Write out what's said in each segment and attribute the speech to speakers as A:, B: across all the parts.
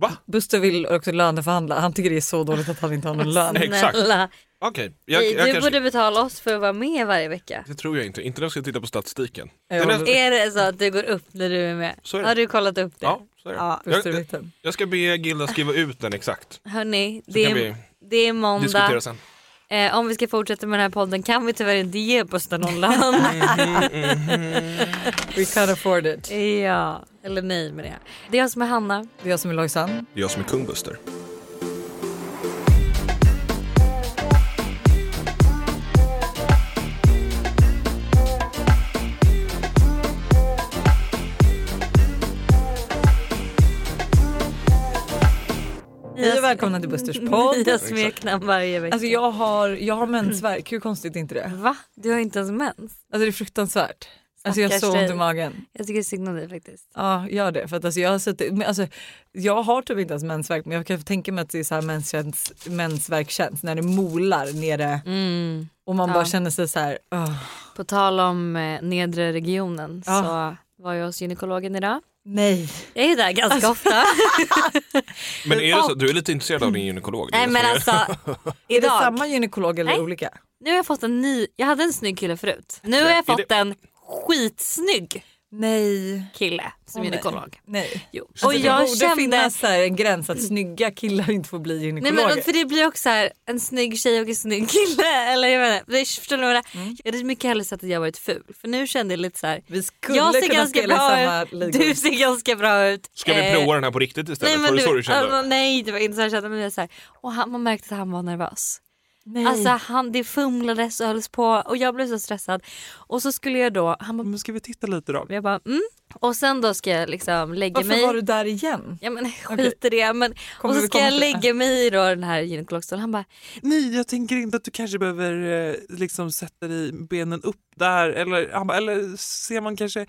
A: Va?
B: Buster vill också löneförhandla. Han tycker det är så dåligt att han inte har någon lön.
A: Exakt.
C: Snälla.
A: Okej, jag,
C: Du
A: jag kanske...
C: borde betala oss för att vara med varje vecka.
A: Det tror jag inte. Inte när jag ska titta på statistiken.
B: Jo,
A: Den är...
C: Är det så att du går upp när du är med?
A: Så är det.
C: Har du kollat upp det?
A: Ja, så är det.
B: Ja,
A: jag,
B: Buster
A: jag,
B: vet den.
A: jag ska be Gilda skriva ut den exakt.
C: Hörni,
A: Så
C: det
A: kan
C: är,
A: vi
C: det är
A: diskutera
C: måndag.
A: sen.
C: Eh, om vi ska fortsätta med den här podden kan vi tyvärr inte ge Buster någon lön.
B: We can't afford it.
C: ja, eller nej med det. Det är jag som är Hanna.
B: Det är jag som är Lojsan.
A: Det är jag som är kung Buster.
B: Hej och välkomna till Busters podd.
C: Nya smeknamn varje vecka.
B: Alltså jag har, jag har mensvärk, hur konstigt är inte det?
C: Va? Du har inte ens mens?
B: Alltså det är fruktansvärt. Alltså jag har så
C: Stackars
B: ont i
C: dig.
B: magen.
C: Jag tycker synd om dig faktiskt.
B: Ja, gör det. För att alltså jag, har suttit, men alltså, jag har typ inte ens mensvärk men jag kan tänka mig att det är så här menskäns, mensvärk känns när det molar nere
C: Mm.
B: och man bara känner sig så här. "Åh,
C: På tal om eh, nedre regionen
B: Ja.
C: så var jag hos gynekologen idag.
B: nej.
C: Jag är där ganska
A: Alltså.
C: ofta.
A: Men är det så att du är lite intresserad av din gynekolog? Det är
C: Nej
A: det
C: men
A: som är-
C: alltså
B: Är det
C: idag.
B: samma gynekolog eller
C: Nej.
B: olika?
C: Nu har jag fått en ny, jag hade en snygg kille förut. Nu har jag
A: är
C: fått
A: det-
C: en skitsnygg
B: Nej.
C: kille
B: Åh,
C: som
B: nej.
C: gynekolog.
B: Nej.
C: Jo.
B: Alltså,
C: Och jag
B: det borde
C: kände,
B: finnas så här en gräns att snygga killar inte får bli
C: nej
B: gynekologer.
C: men för det blir också så här en snygg tjej och en snygg kille. Eller jag menar, det- förstår ni vad det är? Jag hade mycket hellre sett att jag varit ful. För nu kände jag lite så här.
B: Mm. Vi skulle
C: Jag ser
B: kunna
C: ganska
B: spela i
C: bra
B: samma
C: ut,
B: ligor.
C: du ser ganska bra ut.
A: Ska vi
C: Eh,
A: prova den här på riktigt istället?
C: Nej, men
A: Var det
C: du,
A: så du kände?
C: alltså, nej det var inte så jag kände men det är så här. Och han, man märkte att han var nervös.
B: Nej.
C: Alltså han, det fumlades och hölls på och jag blev så stressad. Och så skulle jag då, han bara,
A: men ska vi titta lite då?
C: jag bara mm. Och sen då ska jag liksom lägga
B: Varför
C: mig.
B: var du där igen?
C: Ja men skit i det. Men,
B: Kommer
C: och så
B: vi
C: ska
B: komma
C: jag
B: till det?
C: lägga mig i då den här gynekologstolen. Han bara,
D: Nej, jag tänker inte att du kanske behöver eh, liksom sätta dig benen upp där. Eller, han bara, eller ser man kanske...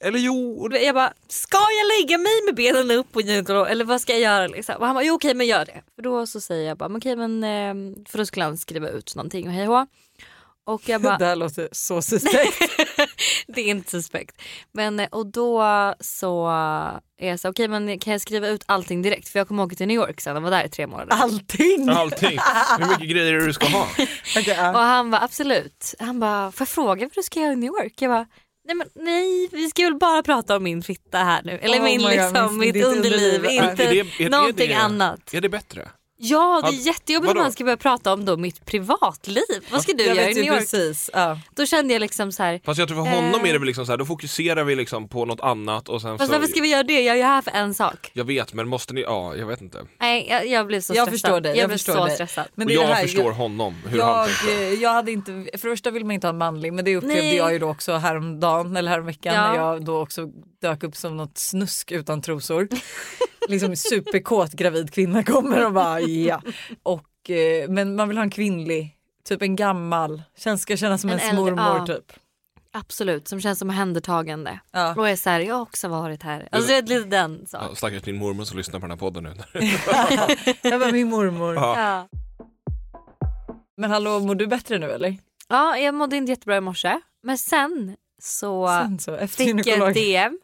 D: Eller jo...
C: och jag bara, ska jag lägga mig med benen upp på gynekolog eller vad ska jag göra liksom? Och han bara, jo okej men gör det. För då så säger jag bara, men okej men, eh, för då skulle han skriva ut någonting och hej och hå. Och jag bara,
B: Det här låter så suspekt.
C: Det är inte suspekt. Men, eh, och då så är jag så okej men kan jag skriva ut allting direkt? För jag kommer åka till New York sen och vara där i tre månader.
B: Allting!
C: alltså-
A: Allting. Hur mycket grejer är det du ska ha?
B: Okej, ja.
C: Och han var absolut. Han bara, får jag fråga vad du ska göra i New York? Jag bara, nej men nej vi ska väl bara prata om min fitta här nu. Eller
B: Oh
C: min,
B: my God,
C: liksom,
B: min-
C: mitt
B: ditt
C: underliv.
B: underliv.
C: Inte
A: Är det- är det
C: någonting
A: det?
C: annat.
A: Är det bättre?
C: Ja det är
A: Ja,
C: jättejobbigt om
A: vadå?
C: han ska börja prata om då mitt privatliv. Vad ska du
B: jag
C: göra i
B: vet
C: New
B: ju
C: York?
B: precis. Ja.
C: Då kände jag liksom så här,
A: Fast jag tror för honom är det väl liksom så här, då fokuserar vi liksom på något annat och sen
C: fast
A: så...
C: varför ska vi göra det? Jag är ju här för en sak.
A: Jag vet men måste ni, ja jag vet inte.
C: Nej jag, jag blev så
B: Jag
C: stressad.
B: förstår dig.
C: Jag,
B: Jag,
C: blev
B: förstår
C: så
B: dig.
C: stressad.
B: Men
A: Och
B: det är det
A: jag
B: här,
A: förstår honom hur han
B: Jag,
A: tänker.
B: eh, jag hade inte, för det första vill man inte ha en manlig men det upplevde
C: Nej.
B: jag ju då också häromdagen eller häromveckan
C: Ja.
B: när jag då också dök upp som något snusk utan trosor. liksom superkåt gravid kvinna kommer och bara ja. Och, eh, men man vill ha en kvinnlig, typ en gammal, känns, ska kännas som
C: En
B: ens
C: äldre,
B: mormor
C: ja.
B: typ.
C: Absolut, som känns som omhändertagande.
B: Ja.
C: Och är så här, jag har också varit här. Alltså det är lite den så.
A: Ja, stackars din mormor som lyssnar på den här podden nu.
B: Jag var min mormor.
C: Ja.
B: Men hallå mår du bättre nu eller?
C: ja, jag mådde inte jättebra i morse. Men sen så
B: Sen så, efter
C: fick jag ett
B: gynekologen.
C: DM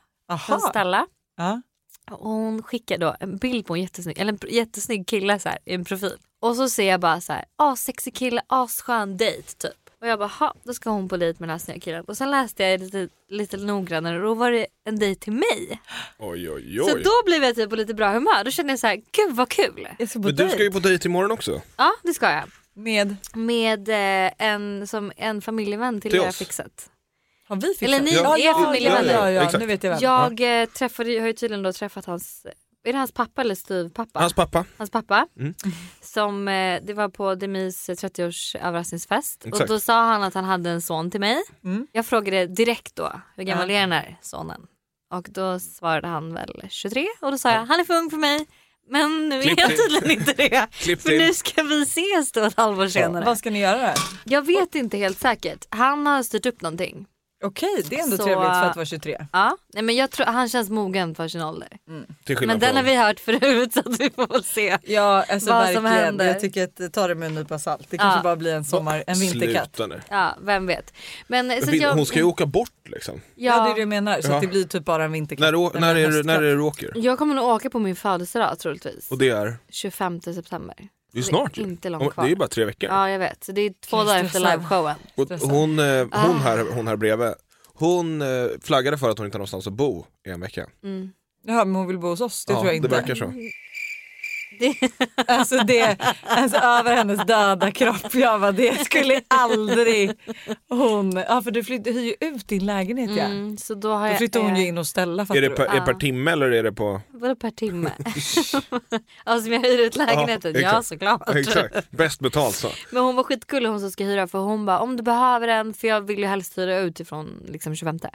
C: från
B: Jaha.
C: Stella.
B: Ja.
C: Och hon skickade då en bild på en jättesnygg, eller en pr- jättesnygg kille så här, i en profil. Och så ser jag bara så här, ah, sexig kille, asskön dejt typ. Och jag bara, ha, då ska hon på dejt med den här snygga killen. Och sen läste jag lite, lite noggrannare och då var det en dejt till mig.
A: Oj oj oj.
C: Så då blev jag typ på lite bra humör. Då kände jag så här, gud vad kul.
B: Jag ska på
A: men du ska ju
B: dejt
A: på dejt imorgon också.
C: Ja, det ska jag.
B: med,
C: Med eh, en, som en familjevän till,
A: Till
C: jag har
A: oss.
C: fixat.
B: har vi fixat?
C: Eller ni,
A: Ja,
C: er
B: ja, ja,
C: familjevänner.
B: ja, ja,
A: Exakt.
B: nu vet jag vem.
C: Jag eh, träffade, jag har ju tydligen då träffat hans, är det hans pappa eller styvpappa?
A: Hans pappa.
C: Hans pappa.
A: Mm.
C: Som, eh, det var på Demis 30-års överraskningsfest. Och
A: Exakt.
C: då sa han att han hade en son till mig.
B: Mm.
C: Jag frågade direkt då, hur gammal
B: Ja.
C: är den här sonen? Och då svarade han väl 23 och då sa jag, han är för ung för mig. Men nu
A: Klipp
C: är jag
A: till.
C: tydligen inte det.
A: Klipp
C: För
A: till.
C: nu ska vi ses då ett halvår senare.
B: Vad ska ni göra?
C: Jag vet inte helt säkert. Han har styrt upp någonting.
B: Okej, det är ändå
C: Så-
B: trevligt för att vara 23.
C: Ja, nej, men jag tror han känns mogen för sin ålder.
A: Till skillnad
C: Men den har
A: från...
C: vi hört förut så att vi får väl se.
B: Ja, alltså
C: Vad som
B: verkligen.
C: händer.
B: Jag tycker att eh, ta det med en nypa salt. Det kanske
C: Ja.
B: bara blir en sommar, en vinterkatt.
A: Sluta nu.
C: Ja, vem vet. Men, så att
A: Vin-
C: Alltså, jag,
A: Hon ska ju åka bort liksom.
B: Ja.
C: ja,
B: det är det jag menar. Så
A: Ja.
B: att det blir typ bara en vinterkatt.
A: När, å,
B: Nej,
A: när,
B: men
A: är, du- när
B: höstkatt.
A: är det du åker?
C: jag kommer nog åka på min födelsedag troligtvis.
A: Och det är?
C: 25 september.
A: Det är snart ju.
C: Inte långt
A: Om-
C: kvar.
A: Det är ju bara tre veckor.
C: Ja jag vet, Så det är två
B: Gud,
C: dagar efter
B: stressad.
C: liveshowen.
A: Och
B: stressad.
A: hon, eh,
C: Ah.
A: hon, här, hon här bredvid, hon eh, flaggade för att hon inte har någonstans att bo i en vecka.
B: Ja, men hon vill bo hos oss. Det
A: ja,
B: tror jag inte.
A: Det verkar så.
B: Alltså det, alltså över hennes döda kropp. Jag bara, det skulle aldrig hon. Ja för du flytt, hyr ju ut din lägenhet ja.
C: Mm, så då har
B: Då
C: jag...
B: flyttar hon
C: eh,
B: ju in och ställa fattar
A: Är det
B: du.
A: per, är det
C: Ah.
A: per timme eller är det på...
C: Vadå per timme? alltså jag hyr ut lägenheten,
A: Ja,
C: ja,
A: exakt.
C: såklart.
A: Exakt, bäst betalt så.
C: Men hon var skitgullig hon som ska hyra för hon bara om du behöver en för jag vill ju helst hyra ut ifrån liksom 25. Men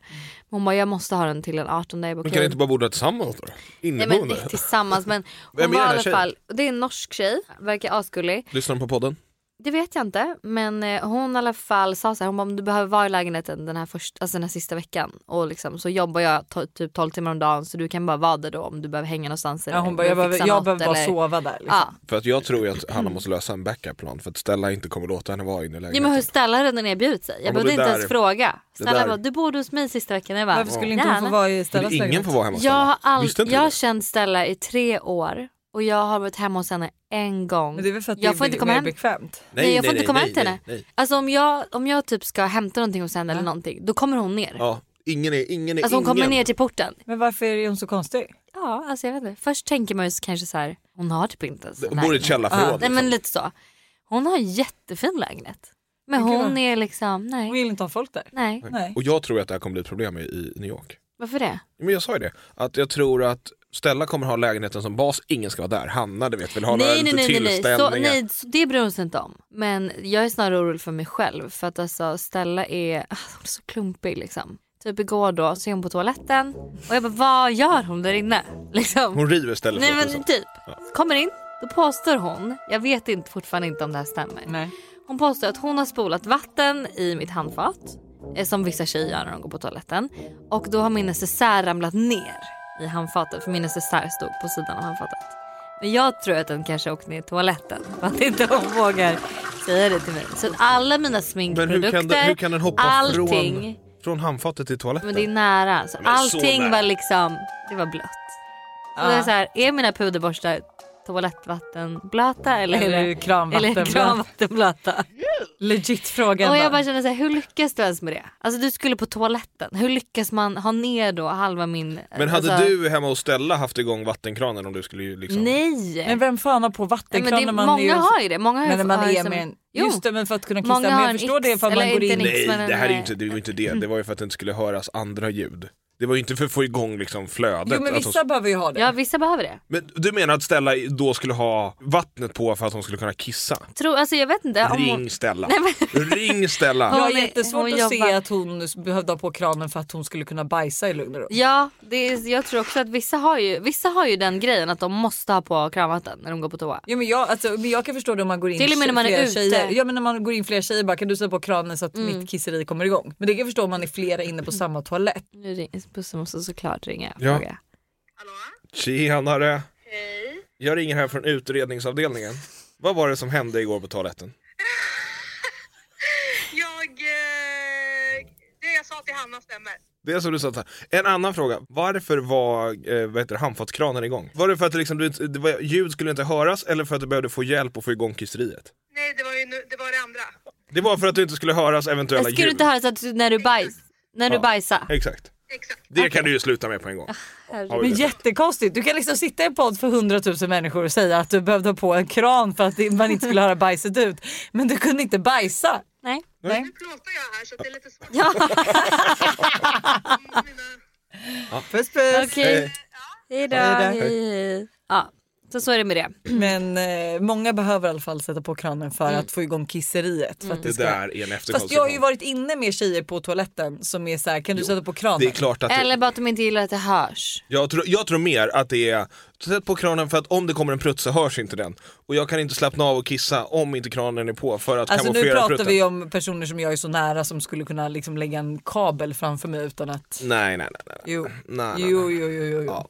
C: Hon bara jag måste ha den till den 18. Jag
A: Mm.
C: bara,
A: Men
C: okej.
A: kan ni inte bara bo där tillsammans då?
C: Nej, men,
A: Inneboende?
C: det- tillsammans men hon
A: Vem är
C: var i
A: den här
C: alla
A: tjejen?
C: fall, det är en norsk tjej, verkar asgullig.
A: Lyssnar de på podden?
C: Det vet jag inte men eh, hon i alla fall sa så här, hon bara, om du behöver vara i lägenheten den här, först, alltså den här sista veckan och liksom, så jobbar jag to- typ 12 timmar om dagen så du kan bara vara där då om du behöver hänga någonstans.
B: Ja, hon bara, jag behöver,
C: fixa
B: jag
C: något
B: behöver bara
C: eller-
B: sova där. Liksom.
C: Ja.
A: För att jag tror ju att Hanna måste lösa en backup-plan för att Stella inte kommer låta henne vara inne i
C: Ja,
A: lägenheten.
C: men hur snälla hade den erbjudit sig?
A: Ja,
C: Jag
A: men
C: behövde
A: det
C: inte
A: där-
C: ens fråga. Snälla
A: där-
C: bara, du bodde hos mig sista veckan. Jag bara,
B: Varför skulle inte hon få
C: gärna.
B: vara i
A: Men
B: Stellas
A: det är ingen får vara hemma hos
C: Jag
A: Stella.
C: har, all...
A: Visste inte
C: jag
A: du
C: har
A: det?
C: känt Stella i tre år och jag har varit hemma hos henne en gång.
B: Men det är väl för att
C: jag
B: det
C: får
B: är
C: inte
B: be-
C: komma
B: mer
C: hem.
B: bekvämt.
C: Nej, jag får inte komma hem till henne.
A: nej, nej.
C: Alltså om jag, om jag typ ska hämta någonting hos henne eller någonting, då kommer hon ner.
A: Ja, ingen är, ingen är,
C: Alltså hon
A: ingen.
C: kommer ner till porten.
B: Men varför är hon så konstig?
C: Ja, alltså jag vet inte. Först tänker man ju så- kanske så här, hon har typ inte ens en
A: Hon bor i ett
C: lägenhet.
A: källarförråd.
C: Nej
A: liksom.
C: men lite så. Hon har en jättefin lägenhet. Men
B: Men gud,
C: hon
B: vad-
C: är liksom,
B: Hon
C: nej.
B: vill inte ha folk där.
C: Nej,
B: Nej.
A: Och jag tror att det här kommer bli ett problem i, i New York.
C: varför det?
A: Men jag sa ju det, att jag tror att Stella kommer ha lägenheten som bas, ingen ska vara där. Hanna du vet vill ha
C: Nej,
A: några
C: nej,
A: lite
C: nej, nej, nej. Så,
A: tillställningar.
C: nej så det bryr hon sig inte om. Men jag är snarare orolig för mig själv för att alltså Stella är, ah, hon är så klumpig liksom. Typ igår då så är hon på toaletten och jag bara vad gör hon där inne? Liksom.
A: Hon river Stella
C: nej
A: så att liksom- det är
C: men typ, kommer in, då påstår hon, jag vet inte, fortfarande inte om det här stämmer.
B: Nej.
C: Hon påstår att hon har spolat vatten i mitt handfat, eh, som vissa tjejer gör när de går på toaletten. Och då har min necessär ramlat ner i handfatet för min necessär stod på sidan av handfatet. Men jag tror att den kanske åkt ner i toaletten för att inte hon vågar säga det till mig. Så att alla mina
A: Men hur
C: sminkprodukter,
A: kan, den, hur kan den hoppa
C: allting.
A: från, från handfatet till toaletten?
C: Men det är nära. Så
A: Men så
C: allting
A: nära.
C: var liksom, det var blött. Och det är, så här, är mina puderborstar toalettvattenblöta eller,
B: Eller
C: är
B: är
C: det-
B: det
C: eller
B: kranvatten?
C: kranvattenblöta?
B: Legit fråga.
C: Och jag
B: ändå.
C: bara känner så här, hur lyckas du ens med det? Alltså du skulle på toaletten, hur lyckas man ha ner då halva min...
A: Men hade
C: alltså,
A: du hemma hos Stella haft igång vattenkranen om du skulle ju liksom...
C: Nej!
B: Men vem fan har på
C: Nej, men
B: vattenkran
C: det,
B: när man
C: många
B: är
C: har ju det. Många har ju
B: Men när man
C: har ju
B: är
C: som-
B: med en...
C: Jo.
B: Just det, men för att kunna kissa.
C: Många
B: Men
C: har
B: jag
C: en
B: förstår det
C: X,
B: för att man
C: eller
B: går
C: inte
B: in.
C: en X.
A: Nej,
C: men
A: det här är
C: nej. Mm.
A: ju inte, det, är ju inte det. Det var ju för att det inte skulle höras andra ljud. Det var ju inte för att få igång liksom flödet.
B: Jo men
A: Alltså,
B: vissa behöver ju ha det.
C: Ja vissa behöver det.
A: men du menar att Stella då skulle ha vattnet på för att hon skulle kunna kissa?
C: Tror, alltså jag vet inte. Om hon,
A: Ring Stella!
C: Nej,
A: Ring Stella!
B: Jag har
C: Hon är-
B: jättesvårt
C: hon
B: att se
C: jobbar-
B: att hon behövde ha på kranen för att hon skulle kunna bajsa i lugn och ro.
C: ja, det är, jag tror också att vissa har, ju, vissa har ju den grejen att de måste ha på kranvatten när de går på toa.
B: Ja, men jag, alltså, men jag kan förstå det om man går in
C: Till och med när man är
B: flera
C: ute. Mm.
B: tjejer. Ja, men när man går in flera tjejer bara kan du sätta på kranen så att mitt kisseri kommer igång. Men det kan jag förstå om man är flera inne på samma toalett.
C: Nu ringer bussen måste såklart ringa och
A: Ja.
C: fråga.
A: Tjenare! Hej! Jag ringer här från utredningsavdelningen. Vad var det som hände igår på toaletten?
E: Jag... Eh, det jag sa till Hanna stämmer.
A: Det är som du sa, så här. en annan fråga. Varför var eh, vad heter det, handfatskranen igång? Var det för att det liksom, du, inte- det var, ljud skulle inte höras eller för att du behövde få hjälp att få igång kisseriet?
E: Nej, det var ju nu, det, var det andra.
A: Det var för att du inte skulle höras eventuella
C: Jag skulle
A: ljud.
C: inte höra så att du, när du, bajs, när du
A: Ja.
C: bajsar.
A: Exakt.
E: Exakt.
A: Det kan du ju sluta med på en gång. Har vi
B: Ah, Men
A: det.
B: jättekonstigt. Du kan liksom sitta i en podd för hundratusen människor och säga att du behövde ha på en kran för att det- man inte skulle höra bajset ut. Men du kunde inte bajsa.
C: Nej.
E: Nu plåtar jag här så att det är lite svårt. Mm,
C: Ja.
E: Mina...
B: Puss puss.
C: Okej. Hej då.
B: Hej då.
C: Hej, hej. Ja, Så så är det med det.
B: Men eh, många behöver i alla fall sätta på kranen för att få igång kisseriet. För att det
A: Det
B: ska...
A: där är en
B: Fast jag har ju
A: efterkonstruktion.
B: varit inne med tjejer på toaletten som är så här, kan du sätta på kranen?
A: Det är klart att det,
C: Eller bara att de inte gillar att det hörs.
A: jag, tror, jag tror mer att det är Sätt på kranen för att om det kommer en prutt så hörs inte den. Och jag kan inte slappna av och kissa om inte kranen är på för att
B: Alltså nu
A: kamouflera
B: pratar
A: prutten.
B: vi om personer som jag är så nära som skulle kunna liksom lägga en kabel framför mig utan att...
A: Nej, nej, nej. nej.
B: Jo,
A: nej, nej,
B: jo, jo, jo. jo, jo.
A: Ja.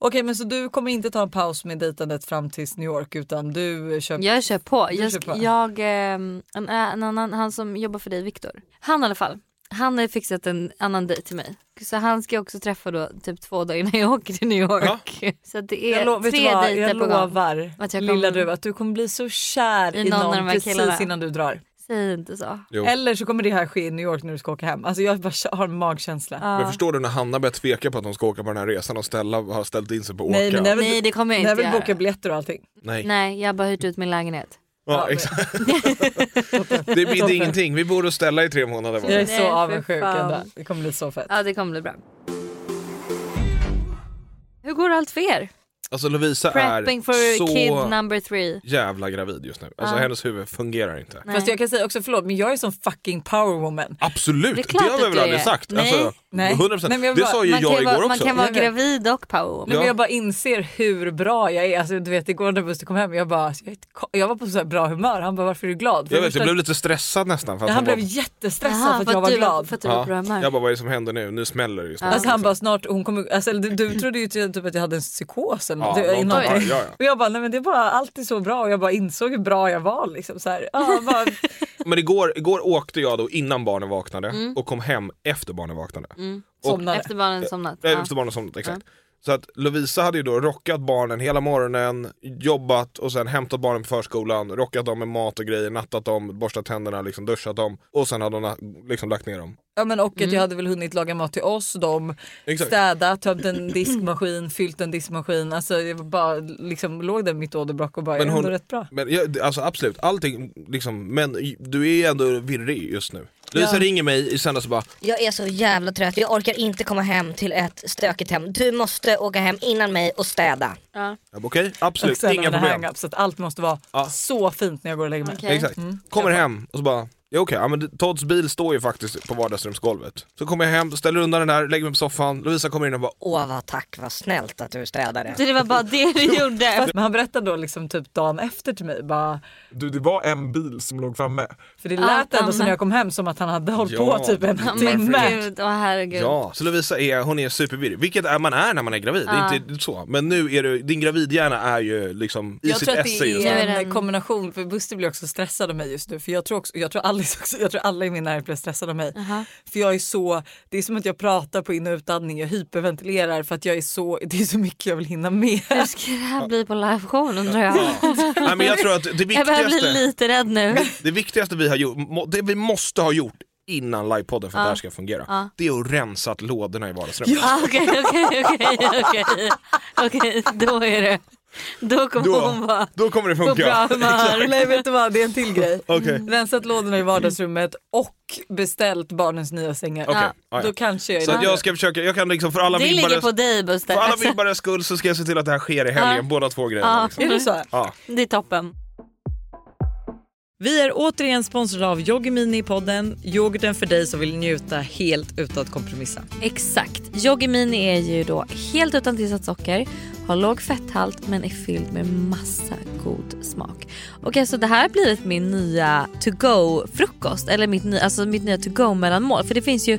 B: Okej men så du kommer inte ta en paus med dejtandet fram tills New York utan du eh, kör...
C: Jag kör på.
B: Du
C: Jag,
B: kör på.
C: sk- jag, ehm, en, en annan, han som jobbar för dig, Viktor. Han i alla fall. Han har ju fixat en annan dejt till mig. Så han ska jag också träffa då typ två dagar innan jag åker till New York. Så att det är
B: Jag, lo- vet du
C: tre
B: vad,
C: dejter
B: jag
C: på gång.
B: lovar
C: Att jag
B: lilla
C: kommer-
B: du att du kommer bli så kär
C: I
B: i
C: någon av
B: någon,
C: de här
B: precis
C: killarna.
B: innan du drar.
C: Säg inte så.
A: Jo.
B: Eller så kommer det här ske i New York när du ska åka hem. Alltså jag bara har en magkänsla.
A: Men förstår du när Hanna börjar tveka på att hon ska åka på den här resan och ställa, har ställt in sig på att åka?
B: Nej, men det är väl-
C: Nej det kommer jag
B: När jag
C: inte
B: vill
C: göra.
B: boka biljetter och allting.
A: Nej.
C: Nej jag har bara hyrt ut min lägenhet.
A: Ja, exakt. det bidde ingenting, vi borde ställa i tre månader. Bara.
B: Jag är
C: Nej,
B: så
C: för
B: avundsjuk
C: fan.
B: ändå. Det kommer bli så fett.
C: Ja det kommer bli bra. Hur går allt för er?
A: Alltså Lovisa
C: Prepping
A: är
C: for
A: så
C: kid number three.
A: jävla gravid just nu. Alltså
C: Ja.
A: hennes huvud fungerar inte.
C: Nej.
B: Fast jag kan säga också förlåt men jag är som fucking power woman.
A: Absolut,
C: Det är
A: det,
C: klart
A: har vi
C: att
A: väl
C: du
A: aldrig
C: är.
A: sagt. Alltså,
B: Nej.
A: 100%.
B: Nej, men jag
A: det
B: bara-
A: sa ju
C: man,
A: jag
C: kan
A: igår
C: vara, man
A: också.
C: kan vara
B: Jag vet.
C: gravid och power
B: Nej,
A: Ja.
B: Men jag bara inser hur bra jag är. Alltså, du vet igår när Buster kom hem, jag, bara, alltså, jag, är ett ko- jag var på så här bra humör. Han bara varför är du glad? För
A: Jag
B: det
A: vet, jag
B: första-
A: blev lite stressad nästan. För att
B: Ja, han
A: hon
B: blev
A: bara-
B: jättestressad
C: Jaha,
B: för att jag var
C: du
B: glad.
C: För att du var bra humör.
A: ja. Jag bara, vad är det som händer nu? Nu smäller det just nu.
B: Alltså han bara snart hon kommer, alltså, du, du trodde ju typ att jag hade en psykos eller
A: Ja,
B: något. Du-
A: någon-
B: någonting.
A: ja, ja, ja.
B: Och jag bara nej men det är bara allt är så bra och jag bara insåg hur bra jag var liksom så här. Ja, bara,
A: Men igår, igår åkte jag då innan barnen vaknade
C: Mm.
A: och kom hem efter barnen vaknade.
B: somnade.
C: Efter barnen somnat.
A: Nej,
C: Mm. Ja.
A: efter barnen somnat, exakt. Så att Lovisa hade ju då rockat barnen hela morgonen, jobbat och sen hämtat barnen på förskolan, rockat dem med mat och grejer, nattat dem, borstat tänderna, liksom duschat dem och sen hade hon na- liksom lagt ner dem.
B: Ja men och att jag hade väl hunnit laga mat till oss, dem,
A: Mm. Exakt.
B: städa, tömt en diskmaskin, fyllt en diskmaskin. Alltså jag var bara liksom låg där mitt åderbråck och bara
A: Men
B: men ändå
A: hon-
B: rätt bra.
A: Men ja, det- alltså absolut, allting liksom, men i- du är ju ändå virrig just nu. Lovisa ringer mig i söndags och bara
F: Jag är så jävla trött, jag orkar inte komma hem till ett stökigt hem. Du måste åka hem innan mig och städa.
A: jag bara, okej,
B: Och
A: absolut,
B: sen
A: Typ, inga
B: hade
A: problem.
B: hang-up, så att allt måste vara
A: Ja.
B: så fint när jag går och lägger mig.
C: Okej.
A: Exakt. Kommer hem och så bara, ja, okej, ja, men det- Todds bil står ju faktiskt på vardagsrumsgolvet. Så kommer jag hem, ställer undan den där, lägger mig på soffan, Lovisa kommer in och bara "Oh,
F: Åh vad tack, vad snällt att du städade.
C: Så det var bara det du gjorde.
B: Men han berättade då liksom typ dagen efter till mig bara,
D: Du, det var en bil som låg framme.
B: för det
C: Ja,
B: lät ändå
C: fan.
B: som när jag kom hem som att han hade hållit
A: Ja,
B: på typ en
A: men
B: timme.
C: Gud, åh herregud.
A: Ja, så Lovisa är, hon är supervirrig, vilket är, man är när man är gravid. Det är inte så. Men nu är du, din gravidhjärna är ju liksom i
B: Jag
A: sitt
B: tror att
A: esse just
B: det
A: nu.
B: är
C: nu.
B: en kombination för Buster blir också stressad av mig just nu för jag tror också, jag tror Alice också, jag tror alla i min närhet blir stressade av mig. För jag är så, det är som att jag pratar på in och utandning, jag hyperventilerar för att jag är så, det är så mycket jag vill hinna med.
C: Hur ska det här bli på liveshowen undrar jag.
A: Nej, men jag tror att det
C: Jag börjar bli
A: viktigaste,
C: lite rädd nu.
A: det viktigaste vi har gjort, må- det vi måste ha gjort innan livepodden för att det här ska fungera, det är att rensa lådorna i vardagsrummet.
C: Ah, Okej, okej, okej, okej. Okej, då är det. Då kommer hon
A: Då,
C: vara
A: då kommer det
C: på bra
A: funka.
C: humör.
B: Nej vet du vad, det är en till grej.
A: Okej.
B: Rensat lådorna i vardagsrummet och beställt barnens nya sängar.
A: Okej, Ah,
B: Ja.
A: ja, ja.
B: Då kanske jag är
A: Så att
B: lite-
A: jag ska försöka, jag kan liksom för alla
C: Det ligger på
A: vibbares,
C: dig
A: för alla
C: Buster.
A: vibbares skull så ska jag se till att det här sker i helgen,
C: Ja.
A: båda två
C: Ja.
A: grejerna. Liksom.
B: Är det så?
A: Ja.
C: Alltså, Det är toppen.
B: Vi är återigen sponsrade av Yoggi Mini i podden. Yoghurten för dig som vill njuta helt utan att kompromissa.
C: Exakt. Yoggi Mini är ju då helt utan tillsatt socker, har låg fetthalt men är fylld med massa god smak. Och alltså det här har blivit min nya to-go-frukost, eller mitt, ny, alltså mitt nya to-go-mellanmål. För det finns ju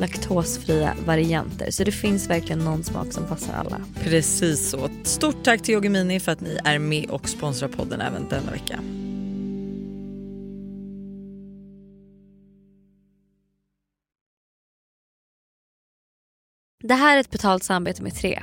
C: laktosfria varianter. Så det finns verkligen någon smak som passar alla.
B: Precis så. Stort tack till Yoggi Mini för att ni är med och sponsrar podden även denna vecka.
C: Det här är ett betalt samarbete med Tre.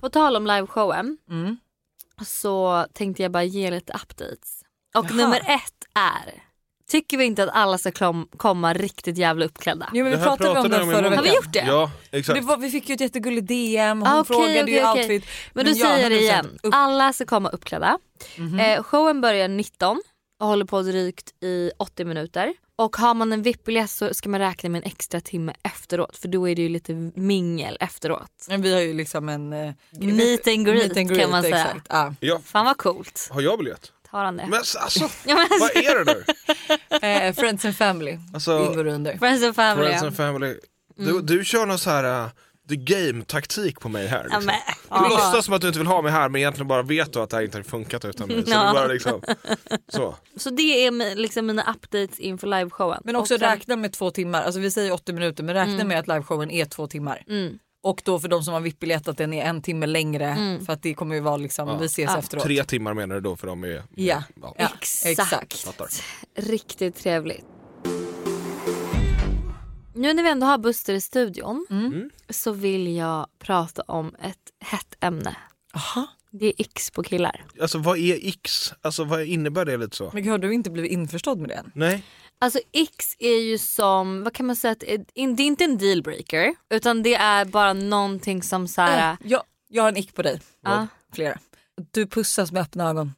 C: På tal om liveshowen så tänkte jag bara ge lite updates. Och nummer ett är, tycker vi inte att alla ska kom, komma riktigt jävla uppklädda?
B: Jo men vi
A: Det här
B: pratade, om
A: pratade
B: det
A: jag om i
B: förra
A: måndags.
B: veckan.
C: Har vi gjort det?
A: Ja,
B: Det
A: exakt.
B: var, vi fick ju ett jättegulligt DM och hon
C: Ah, okej,
B: frågade ju
C: okej, okej.
B: outfit.
C: Men då
B: Men jag
C: säger jag det
B: 100%
C: igen. Ah.
B: upp-
C: Alla ska komma uppklädda.
A: Mhm.
C: Eh, showen börjar 19 och håller på drygt i 80 minuter. Och har man en VIP-biljett så ska man räkna med en extra timme efteråt för då är det ju lite mingel efteråt.
B: Men vi har ju liksom en... eh,
C: Meet and greet, kan man säga.
B: Exakt. Ah. Ja.
A: Ja,
C: Fan vad coolt.
A: har jag biljett?
C: Tar han det?
A: Men alltså, alltså
C: Ja, men alltså,
A: vad är det nu?
B: Eh, friends and family
A: Alltså,
B: ingår under.
C: Friends and family.
A: Friends and family. Du, du kör någon så här uh, the game-taktik på mig här.
C: Ja,
A: Liksom.
C: men,
A: Du
C: ja.
A: låtsas som att du inte vill ha mig här men egentligen bara vet du att det här inte har funkat utan mig. Så
C: Ja.
A: du bara liksom, så.
C: Så det är mi- liksom mina updates inför liveshowen.
B: Men också
C: Och sen-
B: räkna med två timmar. Alltså vi säger 80 minuter men räkna med att liveshowen är två timmar.
C: Mm.
B: Och då för de som har VIP-biljett att den är en timme längre för att det kommer ju vara liksom, vi ses efteråt.
A: Tre timmar menar du då för de är...
B: Ja.
A: Ja,
B: Ja,
C: Exakt.
A: fattar.
C: Riktigt trevligt. Nu när vi ändå har Buster i studion så vill jag prata om ett hett ämne.
B: Aha.
C: Det är x på killar.
A: Alltså vad är X? Alltså vad innebär det lite så?
B: Men gud, har du inte blivit införstådd med det än?
A: Nej?
C: Alltså x är ju som, vad kan man säga, att eh, det är inte en dealbreaker utan det är bara någonting som så här,
B: Äh, jag, jag har en ick på dig.
C: Ja.
B: Flera. Du pussas med öppna ögon.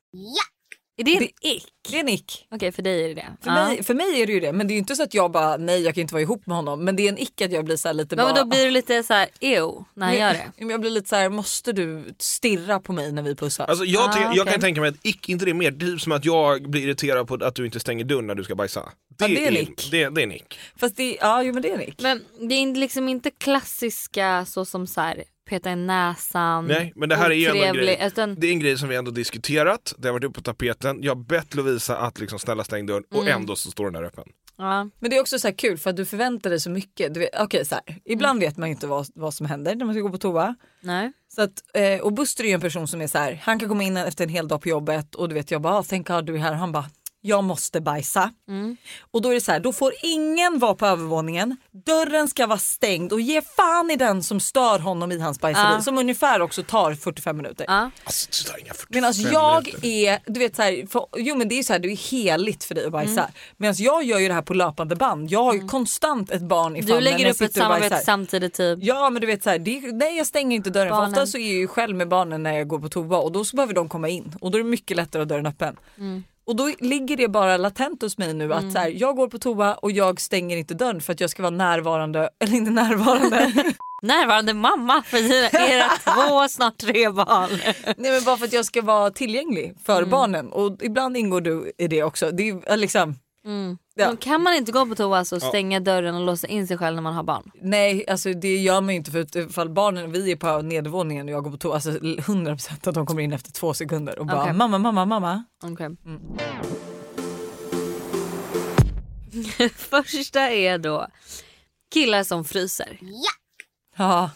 C: är det en
B: det-
C: ick?
B: Det är en ick.
C: Okej för dig är det det.
B: För,
C: Ja.
B: mig, för mig är det ju det. Men det är ju inte så att jag bara nej jag kan inte vara ihop med honom. Men det är en ick att jag blir så här lite
C: Men
B: bara.
C: då blir du lite så här ew när han gör det.
B: Men Jag blir lite så här, måste du stirra på mig när vi pussas?
A: Alltså jag,
C: Ah,
A: ty- jag
C: okej.
A: kan tänka mig att ick, inte det är mer typ som att jag blir irriterad på att du inte stänger dörren när du ska bajsa. Det,
B: Ja, det är en ick.
A: Det, det är en ick.
B: Fast det, ja jo men det är en ick.
C: Men det är liksom inte klassiska så som så här, peta i näsan,
A: Nej, men det här är ju ändå en
C: otrevlig, Alltså,
A: grej.
C: Utan,
A: Det är en grej som vi ändå diskuterat, det har varit uppe på tapeten. Jag har bett Lovisa att liksom snälla stäng dörren och ändå så står den där öppen.
C: ja.
B: Men det är också så här kul för att du förväntar dig så mycket. Du vet, okej, så här, ibland vet man ju inte vad, vad som händer när man ska gå på toa.
C: Nej.
B: Så att, eh, och Buster är ju en person som är så här, han kan komma in efter en hel dag på jobbet och du vet jag bara, tänk God du är här. Han bara, jag måste bajsa.
C: Mm.
B: Och då är det så här, då får ingen vara på övervåningen. Dörren ska vara stängd och ge fan i den som stör honom i hans bajseri
C: Ja.
B: som ungefär också tar 45 minuter.
C: Ja.
A: Alltså, det tar inga 45
B: Medan jag
A: minuter.
B: är, du vet så här, för, jo men det är ju så här, det är ju heligt för dig att bajsa.
C: Mm.
B: Medan jag gör ju det här på löpande band. Jag har ju konstant ett barn i
C: Du
B: famnen när
C: lägger
B: jag
C: upp ett
B: sitter och
C: samarbete
B: bajsar.
C: samtidigt typ.
B: Ja men du vet så här, det, är- nej jag stänger inte dörren
C: Barnen.
B: för ofta så
C: Mm.
B: är jag ju själv med barnen när jag går på toa och då så behöver de komma in och då är det mycket lättare att ha dörren öppen. Och då ligger det bara latent hos mig nu att så här, jag går på toa och jag stänger inte dörren för att jag ska vara närvarande, eller inte närvarande.
C: närvarande mamma för era två, snart tre barn.
B: Nej men bara för att jag ska vara tillgänglig för
C: Mm.
B: barnen och ibland ingår du i det också. Det är liksom,
C: Mm.
B: Ja.
C: Men Kan man inte gå på toa så
B: Ja.
C: stänga dörren och låsa in sig själv när man har barn?
B: nej alltså det gör man ju inte för att ifall barnen, vi är på nedervåningen och jag går på toa, alltså 100% att de kommer in efter två sekunder och bara
C: Okej.
B: mamma, mamma, mamma.
C: Okay.
B: Mm.
C: Första är då killar som fryser. Ja.
B: Ja,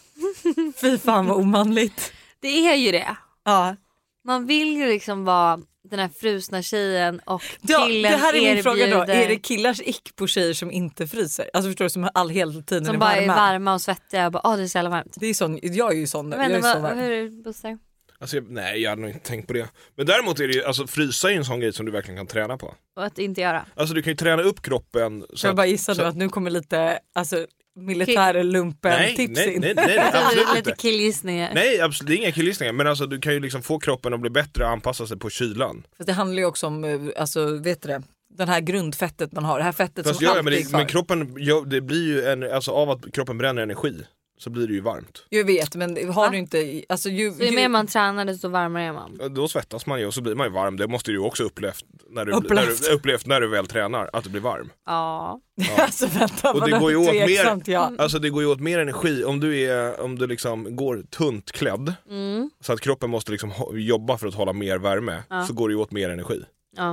B: fy fan vad omanligt.
C: Det är ju det.
B: Ja.
C: Man vill ju liksom vara den här frusna tjejen och
B: Ja,
C: killen
B: det här är min
C: erbjuder
B: fråga då. Är det killars ick på tjejer som inte fryser? Alltså förstår du som all, hela tiden
C: som
B: är
C: bara
B: varma.
C: är varma och svettiga och bara åh det är så jävla varmt.
B: Det är sån, jag är ju sån.
C: Jag
B: jag
C: vet
B: är
C: inte,
B: så
C: vad,
B: varm.
C: hur är det Buster?
A: Alltså, jag, nej, jag hade nog inte tänkt på det. Men däremot är det ju, alltså frysa är ju en sån grej som du verkligen kan träna på.
C: Och att inte göra.
A: Alltså du kan ju träna upp kroppen. Så
B: Så jag bara gissar
A: så-
B: nu att nu kommer lite alltså, militärer
C: Typ-
A: Nej,
B: lumpen-tips
A: nej,
B: in.
A: nej, nej, nej, absolut
C: Lite
A: inte.
C: killgissningar.
A: Nej, absolut, det är inga killgissningar. Men alltså du kan ju liksom få kroppen att bli bättre och anpassa sig på kylan.
B: För det handlar ju också om, eh, alltså, vet du det, den här grundfettet man har, det här fettet
A: Fast
B: som
A: gör jag,
B: alltid
A: men,
B: är
A: det,
B: kvar.
A: men kroppen, gör- det blir ju en, alltså av att kroppen bränner energi så blir det ju varmt.
B: Jag vet men har du inte, i- alltså ju,
C: Så ju mer
B: ju,
C: man tränar desto varmare är man.
A: Då svettas man ju och så blir man ju varm. Det måste du ju också upplevt när du,
B: Upplevt.
A: När du, upplevt när du väl tränar, att du blir varm.
C: Ja.
B: alltså vänta,
A: Och det
B: vad
A: går ju åt mer,
B: tveksamt,
C: Mm.
B: ja.
A: alltså det går ju åt mer energi om du, är, om du liksom går tunt klädd
C: Mm.
A: så att kroppen måste liksom ho- jobba för att hålla mer värme
C: Ja.
A: så går det ju åt mer energi.
C: Ja.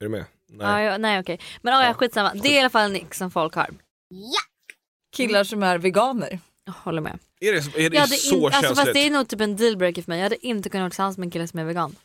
A: Är du med?
C: Ja,
A: Nej.
C: ja, nej okej. Men oh, ja, skitsamma. Det är i alla fall en ick som folk har.
B: killar som är veganer.
C: Jag håller med.
A: Är det, är det
C: Jag hade
A: så
C: in, alltså,
A: känsligt?
C: fast det är nog typ en dealbreaker för mig. Jag hade inte kunnat vara tillsammans med en kille som är vegan.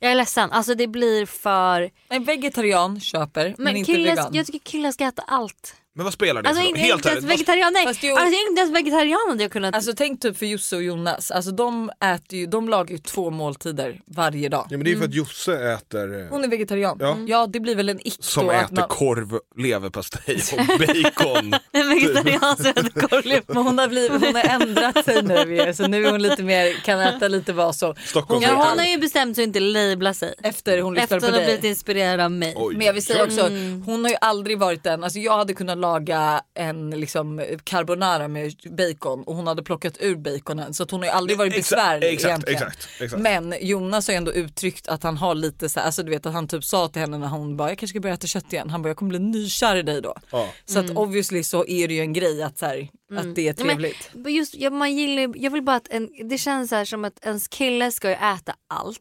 C: Jag är ledsen. Alltså det blir för...
B: En vegetarian köper men,
C: Men,
B: inte
C: killar,
B: vegan.
C: jag tycker killar ska äta allt.
A: Men vad spelar det
C: Alltså
A: för
C: inte,
A: roll?
C: Helt
A: Helt
C: inte ens
A: ärligt. vad-
C: vegetarian. Nej.
B: Fast
C: Alltså
B: jo-
C: inte ens vegetarian hade jag kunnat.
B: Alltså tänk typ för Josse och Jonas, alltså de äter ju, de lagar ju två måltider varje dag.
A: Ja, men det är ju för att
C: Mm.
A: Josse äter... eh,
B: Hon är vegetarian.
A: Ja.
B: Ja, det blir väl en ick
A: Som
B: då
A: äter
B: att man...
A: korv, leverpastej och bacon.
C: en vegetarian som äter korvlever.
B: Men hon har, blivit, hon har ändrat sig nu ju, så nu är hon lite mer, kan äta lite vad som.
A: Stockholm.
C: Ja, hon har ju bestämt sig att inte labla sig.
B: Efter hon lyssnade
C: Efter
B: på
C: hon har
B: dig.
C: blivit inspirerad av mig.
A: Oj.
B: Men jag vill säga också,
C: Mm.
B: hon har ju aldrig varit den, alltså jag hade kunnat laga en liksom carbonara med bacon och hon hade plockat ur baconen så att hon har ju aldrig varit
A: Exakt,
B: besvärlig
A: exakt,
B: egentligen.
A: exakt, exakt.
B: Men Jonas har ju ändå uttryckt att han har lite så här, alltså du vet att han typ sa till henne när hon bara jag kanske ska börja äta kött igen, han bara jag kommer bli nykär i dig då.
A: Ja.
B: Så att obviously så är det ju en grej att, så här, att det är
C: Mm. Nej, men-
B: trevligt.
C: Men Just, jag, man gillar, ju- jag vill bara att en, det känns så här som att ens kille ska ju äta allt.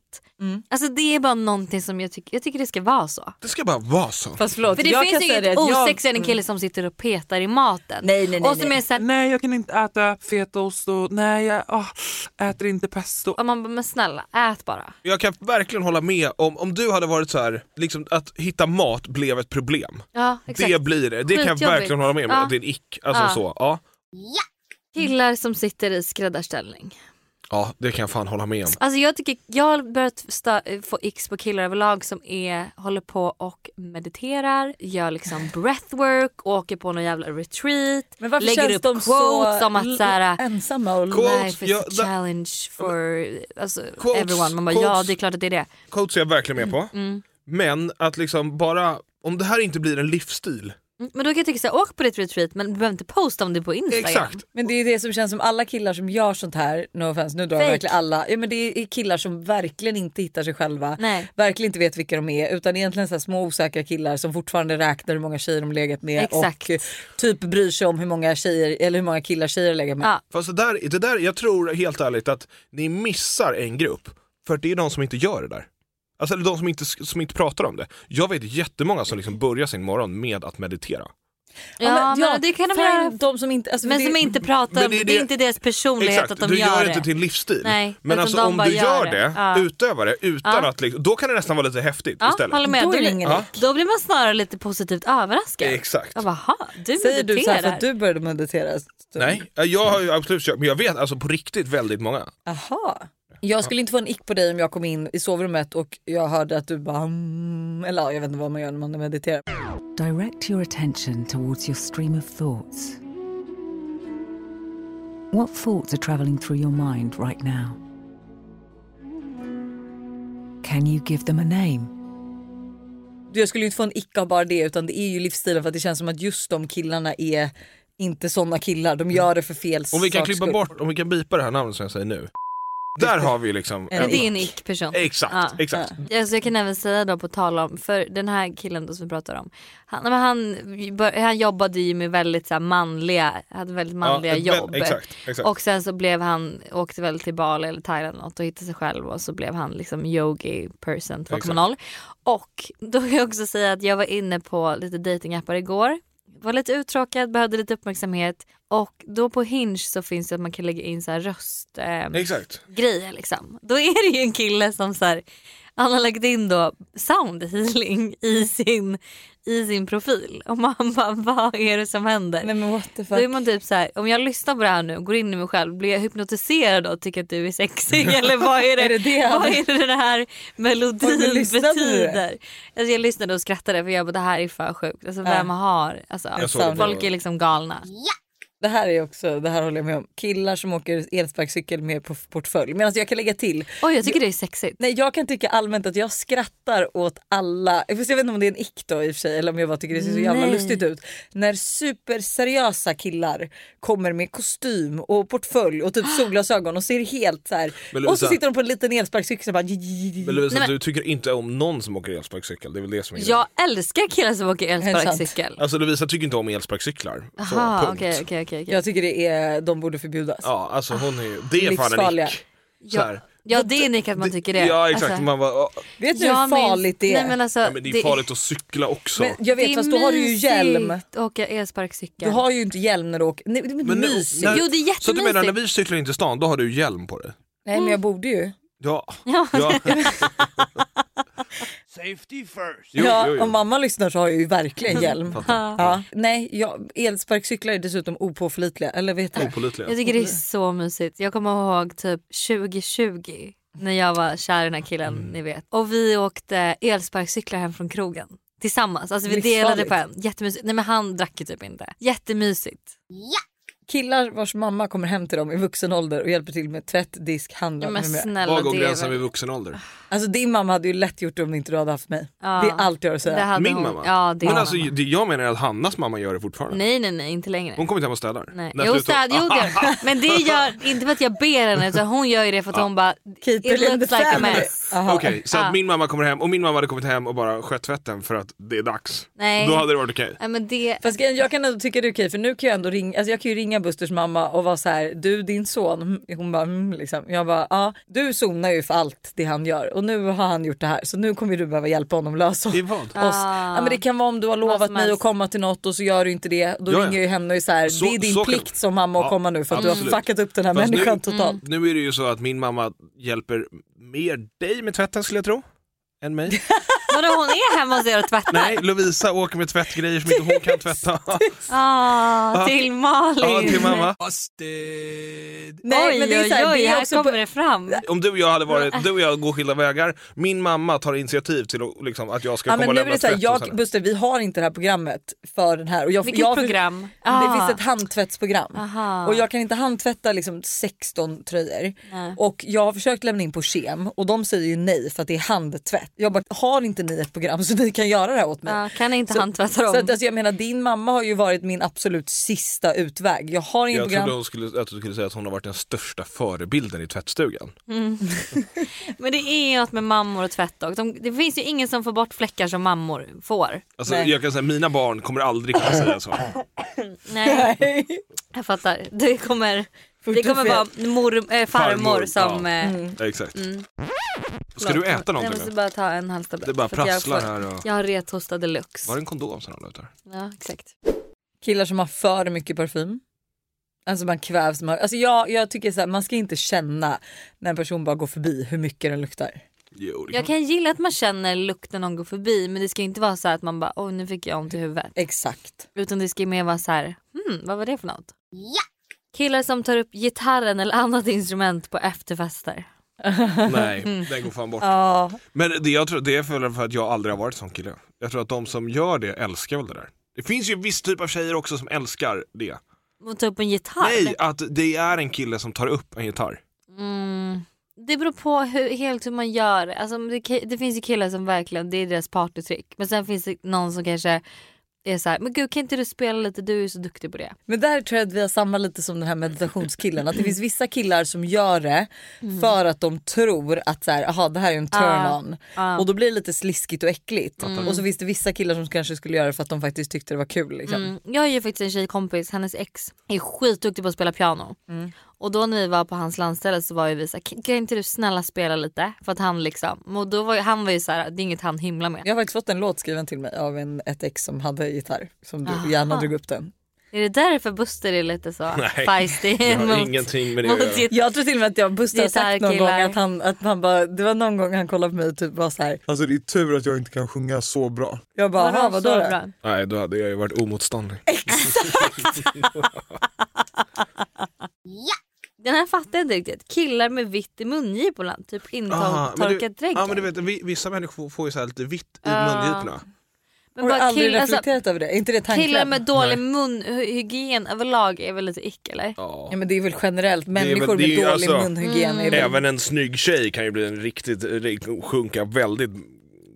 C: Alltså det är bara någonting som jag tycker, jag tycker det ska vara så.
A: Det ska bara vara så.
B: Fast förlåt,
C: För det
B: jag kan
C: finns ju
B: säga det
C: inget
B: att jag- Mm.
C: osexigare än en kille som sitter och petar i maten.
B: Nej, nej, nej,
C: och som
B: nej.
C: är såhär,
D: Nej, jag kan inte äta fetaost och nej, jag ah, äter inte pesto.
C: och man bara, men snälla ät bara.
A: Jag kan verkligen hålla med om, om du hade varit så här, liksom att hitta mat blev ett problem.
C: Ja exakt.
A: Det blir det. Det kan jag
C: Skitjobbigt.
A: verkligen hålla med om.
C: Ja.
A: Att det är en ick. Alltså
C: Ja.
A: så. Ja.
C: Killar som sitter i skräddarställning.
A: ja, det kan jag fan hålla med om.
C: Alltså jag tycker, jag har börjat stö- få x på killar överlag som är, håller på och mediterar, gör liksom breathwork, åker på någon jävla retreat,
B: Men varför
C: lägger
B: känns
C: upp
B: de
C: quotes
B: så
C: om att såhär
B: ensamma och
A: Quotes,
C: life is
A: ja,
C: a
A: da-
C: challenge for alltså,
A: Quotes,
C: everyone. Man bara ja
A: quotes.
C: det är klart att det är det.
A: Coach är jag verkligen med på.
C: Mm,
A: Men att liksom bara, om det här inte blir en livsstil.
C: Mm, Men då kan jag tycka såhär, åk på ditt retreat men du behöver inte posta om det på Instagram.
A: Exakt.
B: Men det är det som känns som alla killar som gör sånt här, no offense, nu drar jag
C: Fake.
B: verkligen alla, ja, men det är killar som verkligen inte hittar sig själva,
C: Nej.
B: verkligen inte vet vilka de är utan egentligen så här små osäkra killar som fortfarande räknar hur många tjejer de legat med
C: Exakt.
B: och eh, typ bryr sig om hur många, tjejer, eller hur många killar tjejer legat med.
C: Ja.
A: Fast det där, det där, jag tror helt ärligt att ni missar en grupp. För att det är de som inte gör det där. Alltså eller de som inte, som inte pratar om det. Jag vet jättemånga som liksom börjar sin morgon med att meditera.
C: Ja, men, det kan de
B: fine,
C: göra.
B: de som inte, alltså,
C: Men
B: det,
C: som inte pratar
A: Men
C: om,
A: det
C: det
A: är
C: är,
A: det-
C: inte deras personlighet
A: Exakt,
C: att de
A: du
C: gör,
A: gör
C: det.
A: inte till livsstil.
C: Nej,
A: men
C: utan
A: alltså
C: de
A: om
C: bara
A: du gör det,
C: gör det. Ja.
A: utövar det utan
C: Ja.
A: att liksom, då kan det nästan vara lite häftigt
C: Ja,
A: istället.
C: håller med.
B: Då är
C: Då,
B: det
C: blir-
B: ingen
A: Ja.
C: då blir man snarare lite positivt överraskad.
A: Exakt.
C: Jag bara, "Ha, du
B: Säger du så här för
C: mediterar.
B: att du började meditera?
A: Nej, jag har ju absolut kört, men jag vet alltså på riktigt väldigt många.
B: Aha. Jag skulle inte få en ick på dig om jag kom in i sovrummet och jag hörde att du bara mm, eller ja, jag vet inte vad man gör när man mediterar.
G: Direct your attention towards your stream of thoughts. What thoughts are traveling through your mind right now? Can you give them a name?
B: jag skulle ju inte få en ick av bara det utan det är ju livsstilen för att det känns som att just de killarna är inte sådana killar. De gör det för fel
A: Om vi kan
B: saks
A: klippa
B: skull.
A: bort, om vi kan bipa det här namnet som jag säger nu. Där har vi liksom...
C: Men det är en ick-person.
A: Exakt, exakt.
C: Ja. Alltså jag kan även säga då på tal om, för den här killen då som vi pratar om, han, men han, bör- han jobbade ju med väldigt så här, manliga, hade väldigt manliga
A: ett väl-
C: jobb.
A: exakt, exakt.
C: Och sen så blev han, åkte väl till Bali eller Thailand eller något och hittade sig själv och så blev han liksom yogi person 2.0. Och då kan jag också säga att jag var inne på lite datingappar igår. Var lite uttråkad, behövde lite uppmärksamhet och då på Hinge så finns det att man kan lägga in så här röst... ehm,
A: Exakt.
C: grejer liksom. Då är det ju en kille som så här, han har lagt in då sound healing i sin, i sin profil. Och man bara vad är det som händer? Nej,
B: men what the
C: Då är man typ så här, om jag lyssnar på det här nu och går in i mig själv, blir jag hypnotiserad och tycker att du är sexig? Eller vad är det,
B: Är det det han-
C: vad är det den här melodin
B: Har du lyssnat på det?
C: betyder? Alltså jag lyssnade och skrattade för jag bara det här är för sjukt. Alltså
B: Ja.
C: vem har, alltså,
B: Jag såg det.
C: folk är liksom galna.
B: Det här är också, det här håller jag med om, killar som åker elsparkcykel med på portfölj. Men alltså jag kan lägga till.
C: Oj jag tycker det är sexigt.
B: Nej jag kan tycka allmänt att jag skrattar åt alla, fast jag vet inte om det är en ick då i och för sig eller om jag bara tycker det ser så jävla
C: Nej.
B: lustigt ut. När superseriösa killar kommer med kostym och portfölj och typ solglasögon och ser helt så här.
A: Men
B: och så
A: Lovisa-
B: sitter de på en liten elsparkcykel och bara
A: Men Lovisa,
C: Nej, men-
A: du tycker inte om någon som åker elsparkcykel, det är väl det som är grejen.
C: Jag älskar killar som åker elsparkcykel.
A: Alltså Lovisa tycker inte om elsparkcyklar. Så,
C: Aha,
A: punkt.
C: okej, okej, okej. okej.
B: Jag tycker det är, de borde förbjudas.
A: Ja, alltså hon är ju, det är fan en
B: Livsfarliga.
A: ick. Så
C: Ja,
A: här.
C: ja det är nick att man tycker det.
A: Ja exakt,
C: Alltså,
A: man bara, åh.
B: Vet du
C: jag
B: hur
C: minns-
B: farligt det är?
C: Nej, men alltså,
A: ja, men det är farligt att cykla också.
B: Men jag vet, fast då har du ju hjälm.
C: att åka
B: Du
C: elsparkcykel.
B: har ju inte hjälm när du åker. Nej, det är inte
A: Men nu-
B: mysigt.
A: när-
C: Jo, det är
A: Så du menar när
C: jättemysigt.
A: vi cyklar in till stan, då har du hjälm på dig?
B: Nej men jag borde ju.
A: Ja.
C: Ja.
H: Safety first.
B: ja, Om mamma lyssnar så har jag ju verkligen hjälm.
H: Fattar.
B: ja. Nej, jag, elsparkcyklar är dessutom opåförlitliga. Eller vet du?
A: Opålitliga.
C: Jag tycker det är så mysigt. Jag kommer ihåg typ 2020 när jag var kär i den här killen
A: Mm.
C: ni vet. Och vi åkte elsparkcyklar hem från krogen tillsammans. Alltså vi delade
B: Livsfarligt.
C: på en. Jättemysigt. Nej men han drack ju typ inte. Jättemysigt.
B: Killar vars mamma kommer hem till dem i vuxen ålder och hjälper till med tvätt, disk, handla
C: Ja, men
B: med mera.
C: snälla,
A: Var går gränsen vid vuxen ålder?
B: Alltså din mamma hade ju lätt gjort det om inte du hade haft mig.
C: Ja.
B: Det är allt jag har att
C: Det
B: säga.
C: hade
A: Min
C: hon-
A: mamma?
C: Ja, det är
A: men
C: hon.
A: alltså, det jag menar är att Hannas mamma gör det fortfarande.
C: Nej nej nej inte längre.
A: Hon kommer inte hem och städar.
C: Nej.
A: När
C: Jo,
A: slutar-
C: städ, jo det gör hon. Men det gör inte för att jag ber henne utan hon gör ju det för att hon bara Keep
B: it in
C: It
B: the
C: looks like a
B: family.
C: mess.
A: Okej, så att
C: Ah.
A: min mamma kommer hem och min mamma hade kommit hem och bara skött tvätten för att det är dags.
C: Nej.
A: Då hade det varit okej.
C: Nej, men det...
B: Fast grejen, jag kan ändå tycka det är okej för nu kan jag ändå ringa, alltså jag kan ju ringa Busters mamma och vara så här, du din son, mm. hon bara mm, liksom. Jag bara ja, du sonar ju för allt det han gör och nu har han gjort det här så nu kommer ju du behöva hjälpa honom lösa
A: I vad?
B: oss. Ja, men det kan vara om du har lovat
C: Ah. som
B: mig att
C: helst.
B: komma till något och så gör du inte det. Då
A: Ja, ja.
B: ringer jag ju henne och är så här,
A: Så-
B: det är din
A: så kan-
B: plikt som mamma att
A: Ja,
B: komma nu för att du
A: absolut.
B: har fuckat upp den här
A: Fast nu-
B: människan
C: Mm.
B: totalt.
A: Nu är det ju så att min mamma hjälper mer dig med tvätten skulle jag tro, än mig.
C: Vadå hon är hemma hos er och tvättar?
A: Nej, Lovisa åker med tvättgrejer som inte hon kan tvätta.
C: Ah, till Malin.
A: Ja, till mamma.
B: Nej,
C: oj,
B: men det är så här,
C: oj, oj,
B: det är
C: här
B: också
C: kommer
B: på-
C: det fram.
A: Om du och jag hade varit, du och jag går skilda vägar, min mamma tar initiativ till att, liksom, att jag ska
B: Ja,
A: komma
B: men
A: och
B: nu är
A: lämna
B: det så här,
A: tvätt hos
B: jag,
A: henne.
B: Buster vi har inte det här programmet för den här. Och jag,
C: Vilket
B: jag,
C: program?
B: Det
C: Ah.
B: finns ett handtvättsprogram
C: Aha.
B: och jag kan inte handtvätta liksom 16 tröjor.
C: Nej.
B: Och jag har försökt lämna in på kem och de säger ju nej för att det är handtvätt. Jag bara, har inte ni ett program så ni kan göra det här åt mig?
C: Ja, kan inte handtvätta
B: Så att,
C: dem.
B: alltså, jag menar din mamma har ju varit min absolut sista utväg. Jag har inget
A: Jag trodde
B: program.
A: hon skulle, att du skulle säga att hon har varit den största förebilden i tvättstugan.
C: Mm. Men det är något med mammor och tvätt och de, Det finns ju ingen som får bort fläckar som mammor får.
A: Alltså,
C: Nej.
A: jag kan säga, mina barn kommer aldrig kunna säga så.
C: Nej. Jag fattar. Det kommer, det kommer vara mor, äh, farmor,
A: Farmor,
C: som...
A: ja.
C: eh,
A: Mm. Exakt. Ska du äta någonting
C: Jag
A: nu?
C: måste bara ta en halstablett.
A: Det bara
C: för att jag
A: prasslar
C: får-
A: här och-
C: Jag har rethostade deluxe.
A: Var det en kondom som ramlade ut där?
C: Ja, exakt.
B: Killar som har för mycket parfym. Alltså man kvävs. Man, alltså jag, jag tycker så här, man ska inte känna när en person bara går förbi hur mycket den luktar.
C: Jag kan gilla att man känner lukten när någon går förbi men det ska inte vara så här att man bara åh nu fick jag ont i huvudet.
B: Exakt.
C: Utan det ska mer vara så här hmm vad var det för något? Ja! Killar som tar upp gitarren eller annat instrument på efterfester.
A: Nej,
C: Mm.
A: den går fan bort.
B: Ja.
A: Men det, jag tror, det är för för att jag aldrig har varit sån kille. Jag tror att de som gör det älskar väl det där. Det finns ju en viss typ av tjejer också som älskar det.
C: Och ta upp en gitarr.
A: Nej, att det är en kille som tar upp en gitarr.
C: Mm. Det beror på hur, helt hur man gör. Alltså, det, ki- det finns ju killar som verkligen, det är deras partytrick. Men sen finns det någon som kanske är så här, men gud kan inte du spela lite, du är ju så duktig på det.
B: Men där tror jag att vi har samma lite som den här meditationskillen. Att det finns vissa killar som gör det
C: Mm.
B: för att de tror att så här, aha, det här är en
C: Ah,
B: turn-on.
C: ah.
B: Och då blir det lite sliskigt och äckligt.
C: Fattar.
B: Och så finns det vissa killar som kanske skulle göra det för att de faktiskt tyckte det var kul. Liksom.
C: Mm. Jag har ju faktiskt en tjejkompis, hennes ex är skitduktig på att spela piano. Och då när vi var på hans landställe så var ju vi såhär, "Kan- kan inte du snälla spela lite? För att han liksom, och då var ju, han var ju såhär, det är inget han himlar med.
B: Jag har faktiskt fått en låt skriven till mig av en, ett ex som hade gitarr. Som du gärna
C: Aha.
B: drog upp den.
C: Är det därför Buster är lite så feisty?
A: det har
C: mot-
A: ingenting med det
C: mot
A: att göra.
C: sitt-
B: Jag tror till och med att jag Buster har sagt någon gång
C: Gitarrkillar.
B: att han, att han bara, det var någon gång han kollade på mig och typ var så här.
I: Alltså det är tur att jag inte kan sjunga så bra.
B: Jag bara,
C: Vadå,
B: "Aha, vadå
C: så
B: då?
C: bra?
A: Nej, då hade jag ju varit omotståndlig.
C: Den här fattar jag inte riktigt. Killar med vitt i mungiporna, typ
A: Aha, men du-
C: intorkat dregg.
A: Ja men du vet, vi- vissa människor får ju så här lite vitt i
C: Ja.
A: mungiporna.
C: Men
B: Har du
C: bara
B: aldrig
C: kill- alltså,
B: reflekterat över det? Är inte det tanken?
C: Killar med dålig munhygien överlag är väl lite ick eller?
A: Ja.
B: Ja men det är väl generellt
A: Det är väl-
B: människor
A: det är
B: med
A: ju
B: dålig
A: alltså-
B: munhygien är väl,
A: Även en snygg tjej kan ju bli en riktigt, rik- sjunka väldigt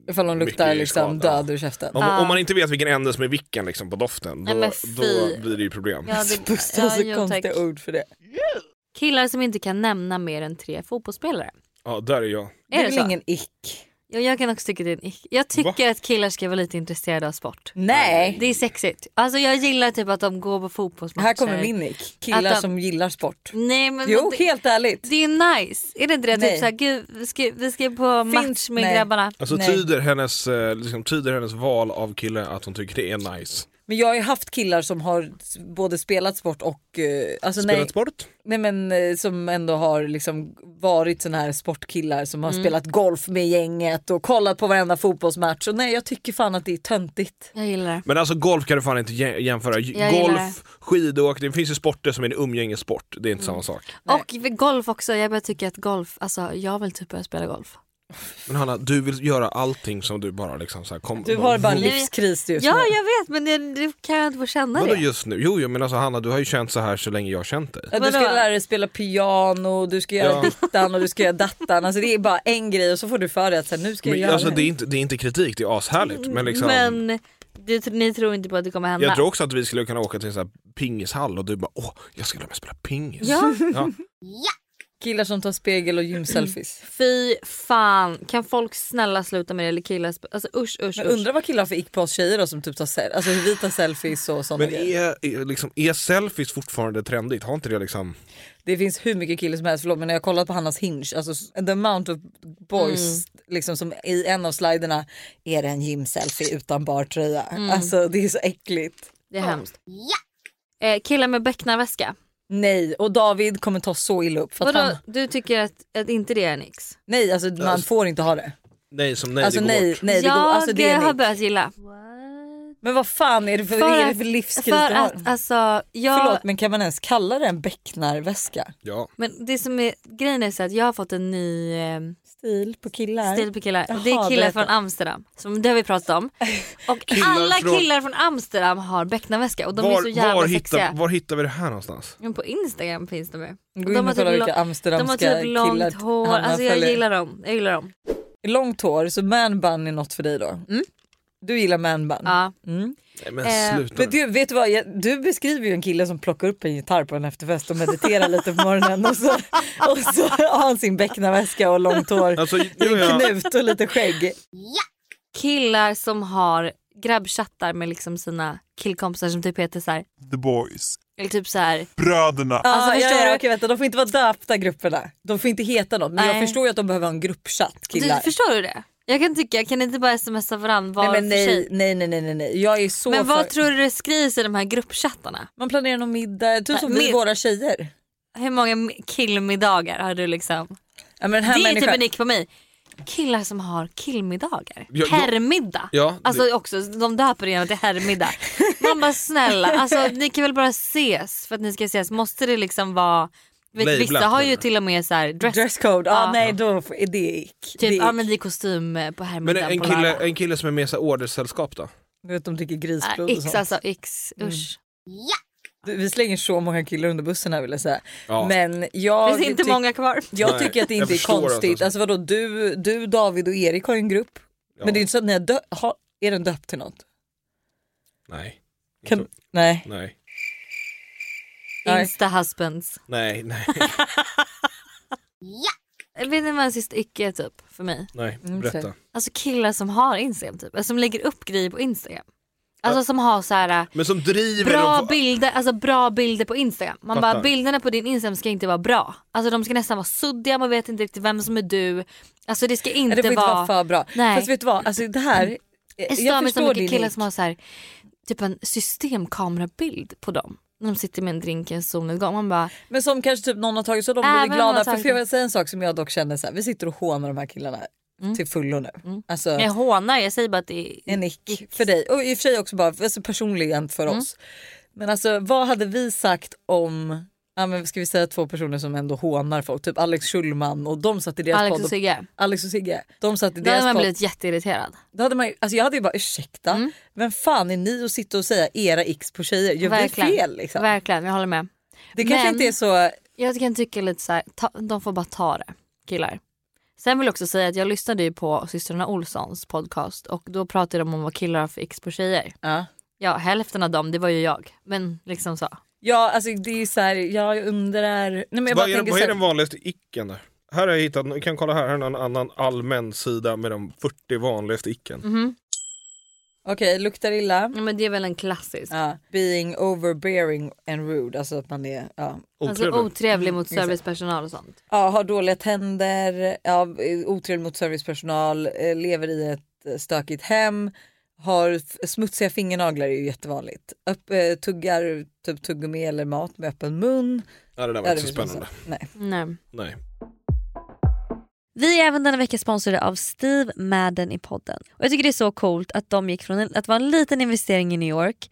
B: ifall de luktar
A: mycket
B: liksom
A: skada.
B: död ur käften.
A: Om, om man inte vet vilken ände som är vilken liksom, på doften, då,
C: Nej, men
A: då
C: fy.
A: blir det ju problem.
C: Ja, det-
B: Buster
C: ja,
B: har så
C: jo, tack.
B: alltså, konstiga ord för det.
C: Killar som inte kan nämna mer än tre fotbollsspelare.
A: Ja, där är jag.
B: Det är
C: det
B: väl
C: så?
B: ingen ick?
C: Ja, jag kan också tycka det är en ick. Jag tycker att killar ska vara lite intresserade av sport.
B: Nej.
C: Det är sexigt. Alltså jag gillar typ att de går på fotbollsmatcher.
B: Här kommer min ick. Killar
C: Att de-
B: som gillar sport.
C: Nej men
B: Jo,
C: det,
B: helt ärligt.
C: det är nice. Är det inte det?
B: Nej.
C: Typ såhär, gud vi ska, vi ska på match med
B: Nej.
C: grabbarna.
A: Alltså tyder hennes, eh, liksom, tyder hennes val av kille att hon tycker det är nice?
B: Men jag har ju haft killar som har s- både spelat sport och... eh, Alltså,
A: Spelat
B: nej,
A: sport?
B: Nej men eh, som ändå har liksom varit såna här sportkillar som har
C: Mm.
B: spelat golf med gänget och kollat på varenda fotbollsmatch. Och nej jag tycker fan att det är töntigt.
C: Jag gillar det.
A: Men alltså golf kan du fan inte jä- jämföra. J-
C: Jag gillar Mm.
A: Golf, skidåkning, det finns ju sporter som är en umgängessport. Det är inte samma sak.
C: Och vid golf också. Jag börjar tycka att golf, alltså jag vill typ börja spela golf.
A: Men Hanna, du vill göra allting som du bara liksom så här, kom,
B: Du har bara en
A: våg-
B: livskris just
C: ja
B: nu.
C: jag vet men det, det kan jag inte få känna
A: Vadå
C: det.
A: just nu? Jo, jo men alltså Hanna du har ju känt så här så länge jag har känt dig.
B: Ja, Du ska lära dig spela piano, du ska göra
A: Ja.
B: dittan och du ska göra dattan. Alltså det är bara en grej och så får du för dig att så här, nu ska jag
A: Men,
B: göra
A: alltså,
B: det.
A: det, är inte, det är inte kritik, det är ashärligt. Men, liksom,
C: Mm, Men du, ni tror inte på att det kommer hända?
A: jag tror också att vi skulle kunna åka till en sån här pingishall och du bara åh, jag ska lära mig spela pingis.
C: Ja.
B: Killar som tar spegel och gymselfies.
C: Fy fan, kan folk snälla sluta med det? Eller killar, sp- alltså usch usch
B: Men
C: usch.
B: undrar vad killar har för ick på oss tjejer då som typ tar sel- alltså hur vi tar selfies och sådana
A: Men
B: grejer.
A: är, är, liksom, är selfies fortfarande trendigt? Har inte det liksom...
B: Det finns hur mycket killar som helst, förlåt men när jag kollat på Hannas hinge, alltså s- the amount of boys
C: Mm.
B: liksom som i en av sliderna är det en gymselfie utan bartröja.
C: Mm.
B: Alltså det är så äckligt.
C: Det är hemskt. Eh, killar med becknarväska.
B: Nej och David kommer ta så illa upp. För att
C: Vadå,
B: han,
C: du tycker att, att inte det är en x?
B: nej alltså man får inte ha det.
A: Nej som nej,
B: alltså
A: det går
B: nej,
A: bort.
B: nej det
C: ja,
B: går, alltså det är
C: har
B: en
C: jag
B: ick.
C: börjat gilla.
B: Men vad fan är det för, är det för livskris
C: för
B: du har?
C: att, alltså, jag,
B: Förlåt men kan man ens kalla det en becknarväska?
A: Ja.
C: Men det som är grejen är så att jag har fått en ny eh,
B: Stil på killar.
C: stil på killar. Och det
B: Jaha,
C: är killar
B: berätta.
C: från Amsterdam. Som det har vi pratat om. Och alla
A: från-
C: killar från Amsterdam har becknarväska och de är så jävla
A: var,
C: sexiga.
A: hittar, var hittar vi det här någonstans?
C: Men på Instagram finns de ju.
B: Gå in och kolla vilka
C: de har
B: amsterdamska
C: typ
B: killar
C: långt hår.
B: Hanna
C: Alltså jag
B: följer.
C: gillar dem. Jag gillar dem.
B: Långt hår, så man bun är något för dig då? Du gillar man bun?
C: Mm. Ja.
B: Mm.
A: Nej, men sluta
B: men du, vet du, vad? Jag- du beskriver ju en kille som plockar upp en gitarr på en efterfest och mediterar lite på morgonen och så, och så har han sin becknarväska och långt hår,
A: Alltså, nu är
B: en
A: jag-
B: knut och lite skägg.
C: Killar som har grabbchattar med liksom sina killkompisar som typ heter så här.
I: The boys.
C: Eller typ så här.
I: Bröderna.
B: Alltså, ja,
C: förstår
B: ja,
C: du?
B: okej, vänta, de får inte vara döpta grupperna. De får inte heta något men jag
C: Nej.
B: förstår ju att de behöver ha en gruppchatt
C: Du,
B: killar.
C: förstår du det? Jag kan tycka, kan ni inte bara smsa varandra var
B: nej, men
C: för
B: nej,
C: sig?
B: nej, nej, nej, nej, nej. Jag är så
C: Men vad
B: för...
C: tror du det skrivs i de här gruppchattarna?
B: Man planerar någon middag, typ
C: Nej,
B: som vi
C: men-
B: våra tjejer.
C: Hur många m- killmiddagar har du liksom?
B: Ja, men den här
C: det är
B: människan-
C: typ en ick på mig. Killar som har killmiddagar.
B: Ja, ja.
C: Herrmiddag.
B: Ja, det-
C: Alltså också, de döper det gärna till herrmiddag. Man bara snälla, alltså, ni kan väl bara ses för att ni ska ses. Måste det liksom vara... Vet,
B: Lablat,
C: vissa har
B: menar
C: ju till och med så här dress...
B: Dresscode, ja nej då är det ick.
C: Typ,
B: det är
C: ja men det är kostym eh, på
A: Men
C: herrmiddagen
A: en
C: på
A: kille,
C: lördag.
A: en kille som är med i så här ordersällskap då?
C: alltså,
B: Du vet de dricker grisblod
C: Äh, X alltså, X. Usch.
B: Du, Vi slänger så många killar under bussen här vill jag säga.
C: Ja.
B: Men jag
C: Finns inte
B: tyck-
C: många kvar.
B: Jag
C: Nej,
B: tycker att det
C: jag
B: inte är
C: förstår
B: konstigt.
C: alltså.
B: Alltså vadå, du, du, David och Erik har ju en grupp. Men det är ju inte så att ni har dö- har, är den döpt till något?
A: Nej.
B: Kan, nej.
A: Nej.
C: Insta-husbands.
A: Nej, nej.
C: Eller vet ni vad en sista icke är typ för mig?
A: Nej, Mm, berätta. okej.
C: Alltså killar som har Instagram typ, eller som lägger upp grejer på Instagram. Alltså som har så här
A: Men som driver...
C: bra
A: dem-
C: bilder, alltså bra bilder på Instagram. Man bara
A: Fattar.
C: bilderna på din Instagram ska inte vara bra. Alltså de ska nästan vara suddiga, man vet inte riktigt vem som är du. Alltså det ska inte,
B: det får inte vara för bra.
C: Nej.
B: Fast vet du vad, alltså det här.
C: Jag stör mig så mycket killar som har så här, typ en systemkamerabild på dem. När de sitter med en drink i en solnedgång. Man bara,
B: Men som kanske typ någon har tagit så de
C: Även
B: blir
C: om någon
B: glada.
C: har
B: För
C: tagit
B: för jag
C: den.
B: vill säga en sak som jag dock känner så här, vi sitter och hånar de här killarna till fullo nu. Alltså,
C: Mm. jag hånar, jag säger bara att det är...
B: en nick för dig och i och för sig också bara alltså, personligen för
C: Mm.
B: oss. Men alltså vad hade vi sagt om Ja, men ska vi säga två personer som ändå hånar folk, typ Alex Schulman och de satt i deras
C: Alex
B: podd.
C: och Sigge.
B: Alex och Sigge. De satt i
C: Då hade
B: deras
C: man
B: podd.
C: blivit Mm. jätteirriterad.
B: Då hade man, ju- alltså jag hade ju bara ursäkta, vem fan är ni att sitta och säga era x på tjejer? Gör vi
C: Verkligen.
B: fel liksom?
C: Verkligen, jag håller med.
B: Det kanske
C: Men-
B: inte är så...
C: Jag kan tycka lite så här, ta, de får bara ta det, killar. Sen vill jag också säga att jag lyssnade ju på systrarna Olssons podcast och då pratade de om vad killar har för x på tjejer.
B: Ja.
C: Ja, hälften av dem, det var ju jag. Men liksom så.
B: Ja, alltså det är så här, jag undrar... Nej, men jag bara
A: Vad är,
B: tänker
A: vad
B: så
A: är
B: här,
A: den vanligaste icken där? Här har jag hittat, ni kan kolla här, här är en annan allmän sida med de 40 vanligaste icken.
B: Mhm. Okej, luktar illa.
C: men det är väl en klassisk.
B: Ja. Being overbearing and rude, alltså att man är... Ja.
C: Alltså otrevlig mot
B: Mm, exakt.
C: servicepersonal och sånt.
B: Ja, har dåliga tänder, ja, otrevlig mot servicepersonal, eh, lever i ett eh, stökigt hem, har f- smutsiga fingernaglar är ju jättevanligt. Öpp, eh, tuggar typ tuggummi eller mat med öppen mun.
A: Ja, det där var
B: Ja,
A: inte så
B: finns
A: spännande.
B: massa. Nej.
C: Nej.
A: Nej.
J: Vi är även denna vecka sponsrade av Steve Madden i podden. Och jag tycker det är så coolt att de gick från en, att vara en liten investering i New York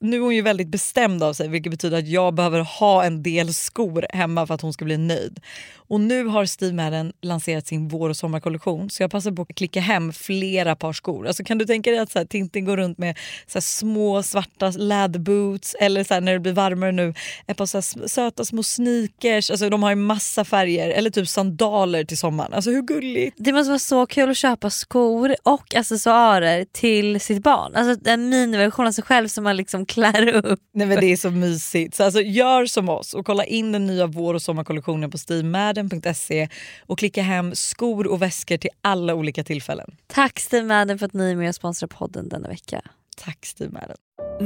B: nu är hon ju väldigt bestämd av sig vilket betyder att jag behöver ha en del skor hemma för att hon ska bli nöjd. Och nu har Steve Madden lanserat sin vår och sommarkollektion så jag passar på att klicka hem flera par skor. Alltså, kan du tänka dig att så här, Tintin går runt med så här, små svarta läderboots eller så här, när det blir varmare nu ett par så här, sm- söta små sneakers. Alltså, de har ju massa färger eller typ sandaler till sommaren. Alltså hur gulligt?
J: Det måste vara så kul att köpa skor och accessoarer till sitt barn. Alltså en miniversion av sig själv som man liksom klär upp.
B: Nej, men det är så mysigt. Så alltså, gör som oss och kolla in den nya vår och sommarkollektionen på steamadden.se och klicka hem skor och väskor till alla olika tillfällen.
J: Tack Steve Madden för att ni är med och sponsrar podden denna vecka.
B: Tack Steve Madden.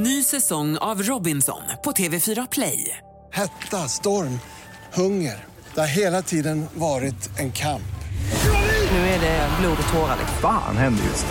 G: Ny säsong av Robinson på TV4 Play.
K: Hetta, storm, hunger. Det har hela tiden varit en kamp.
G: Nu är det blod och tårar.
L: Fan händer just nu.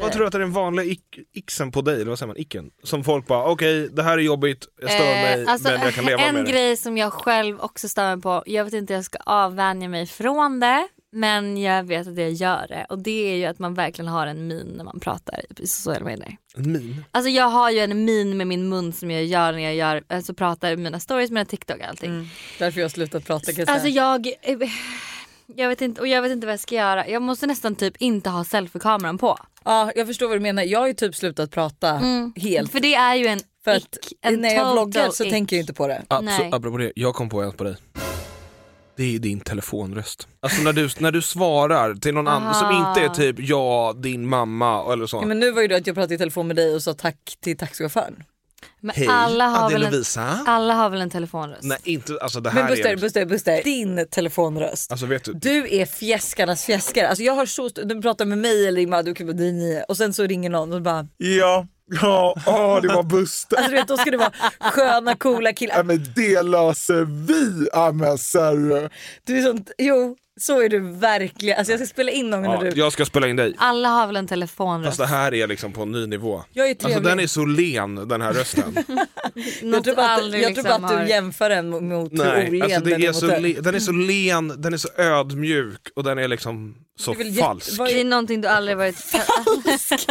A: Vad tror du att det är den vanliga ick, icksen på dig, eller vad säger man, icken? Som folk bara, okej det här är jobbigt, jag stör mig
C: Eh, alltså,
A: men jag kan leva
C: en
A: med det.
C: grej som jag själv också stör mig på, jag vet inte hur jag ska avvänja mig från det men jag vet att jag gör det och det är ju att man verkligen har en min när man pratar i sociala medier.
A: En min?
C: Alltså jag har ju en min med min mun som jag gör när jag gör, alltså pratar i mina stories, mina TikTok och allting.
B: Mm, Därför jag har slutat prata kan jag
C: Alltså
B: säga.
C: jag, eh, jag vet inte, och jag vet inte vad jag ska göra. Jag måste nästan typ inte ha selfie-kameran på.
B: Ja, jag förstår vad du menar. Jag har ju typ slutat prata
C: Mm.
B: helt.
C: För det är ju en
B: För att
C: ick, en
B: när jag
C: total
B: vloggar så
C: ick.
B: tänker jag inte på det.
C: Nej.
A: Abso- apropå det, jag kom på en på dig. Det är din telefonröst. Alltså när du, när du svarar till någon annan som
B: Ah.
A: inte är typ ja, din mamma eller så.
B: Ja, men nu var ju det att jag pratade i telefon med dig och sa tack till taxichauffören.
C: Men
A: Hej,
C: alla, har
A: Adele
C: väl en,
A: Lovisa.
C: alla har väl en telefonröst?
A: Nej inte, alltså det här
B: Men Buster,
A: är...
B: Buster, Buster, din telefonröst.
A: Alltså vet du,
B: Du är fjäskarnas fjäskare. Alltså jag har så st- du pratar med mig eller Imad och du är nio och sen så ringer någon och bara
M: Ja, ja, åh, det var Buster.
B: alltså du vet då ska det vara sköna coola killar.
M: Ja, men det löser vi, ja, men serre.
B: Du är sånt, jo så är du verkligen. Alltså jag ska spela in någon gång
A: ja,
B: när du...
A: jag ska spela in dig.
C: Alla har väl en telefonröst?
A: Fast det här är liksom på en ny nivå.
B: Jag är
A: alltså
B: trevlig.
A: den är så len den här rösten.
B: Jag tror bara att,
C: aldrig
B: jag tror bara
C: liksom
B: att du
C: har-
B: jämför den mot mot hur
A: Nej,
B: olen
A: alltså det
B: den
A: är
B: är
A: så
B: mot dig.
A: le, den är så len, den är så ödmjuk och den är liksom så falsk.
C: Det är någonting du aldrig varit... falsk?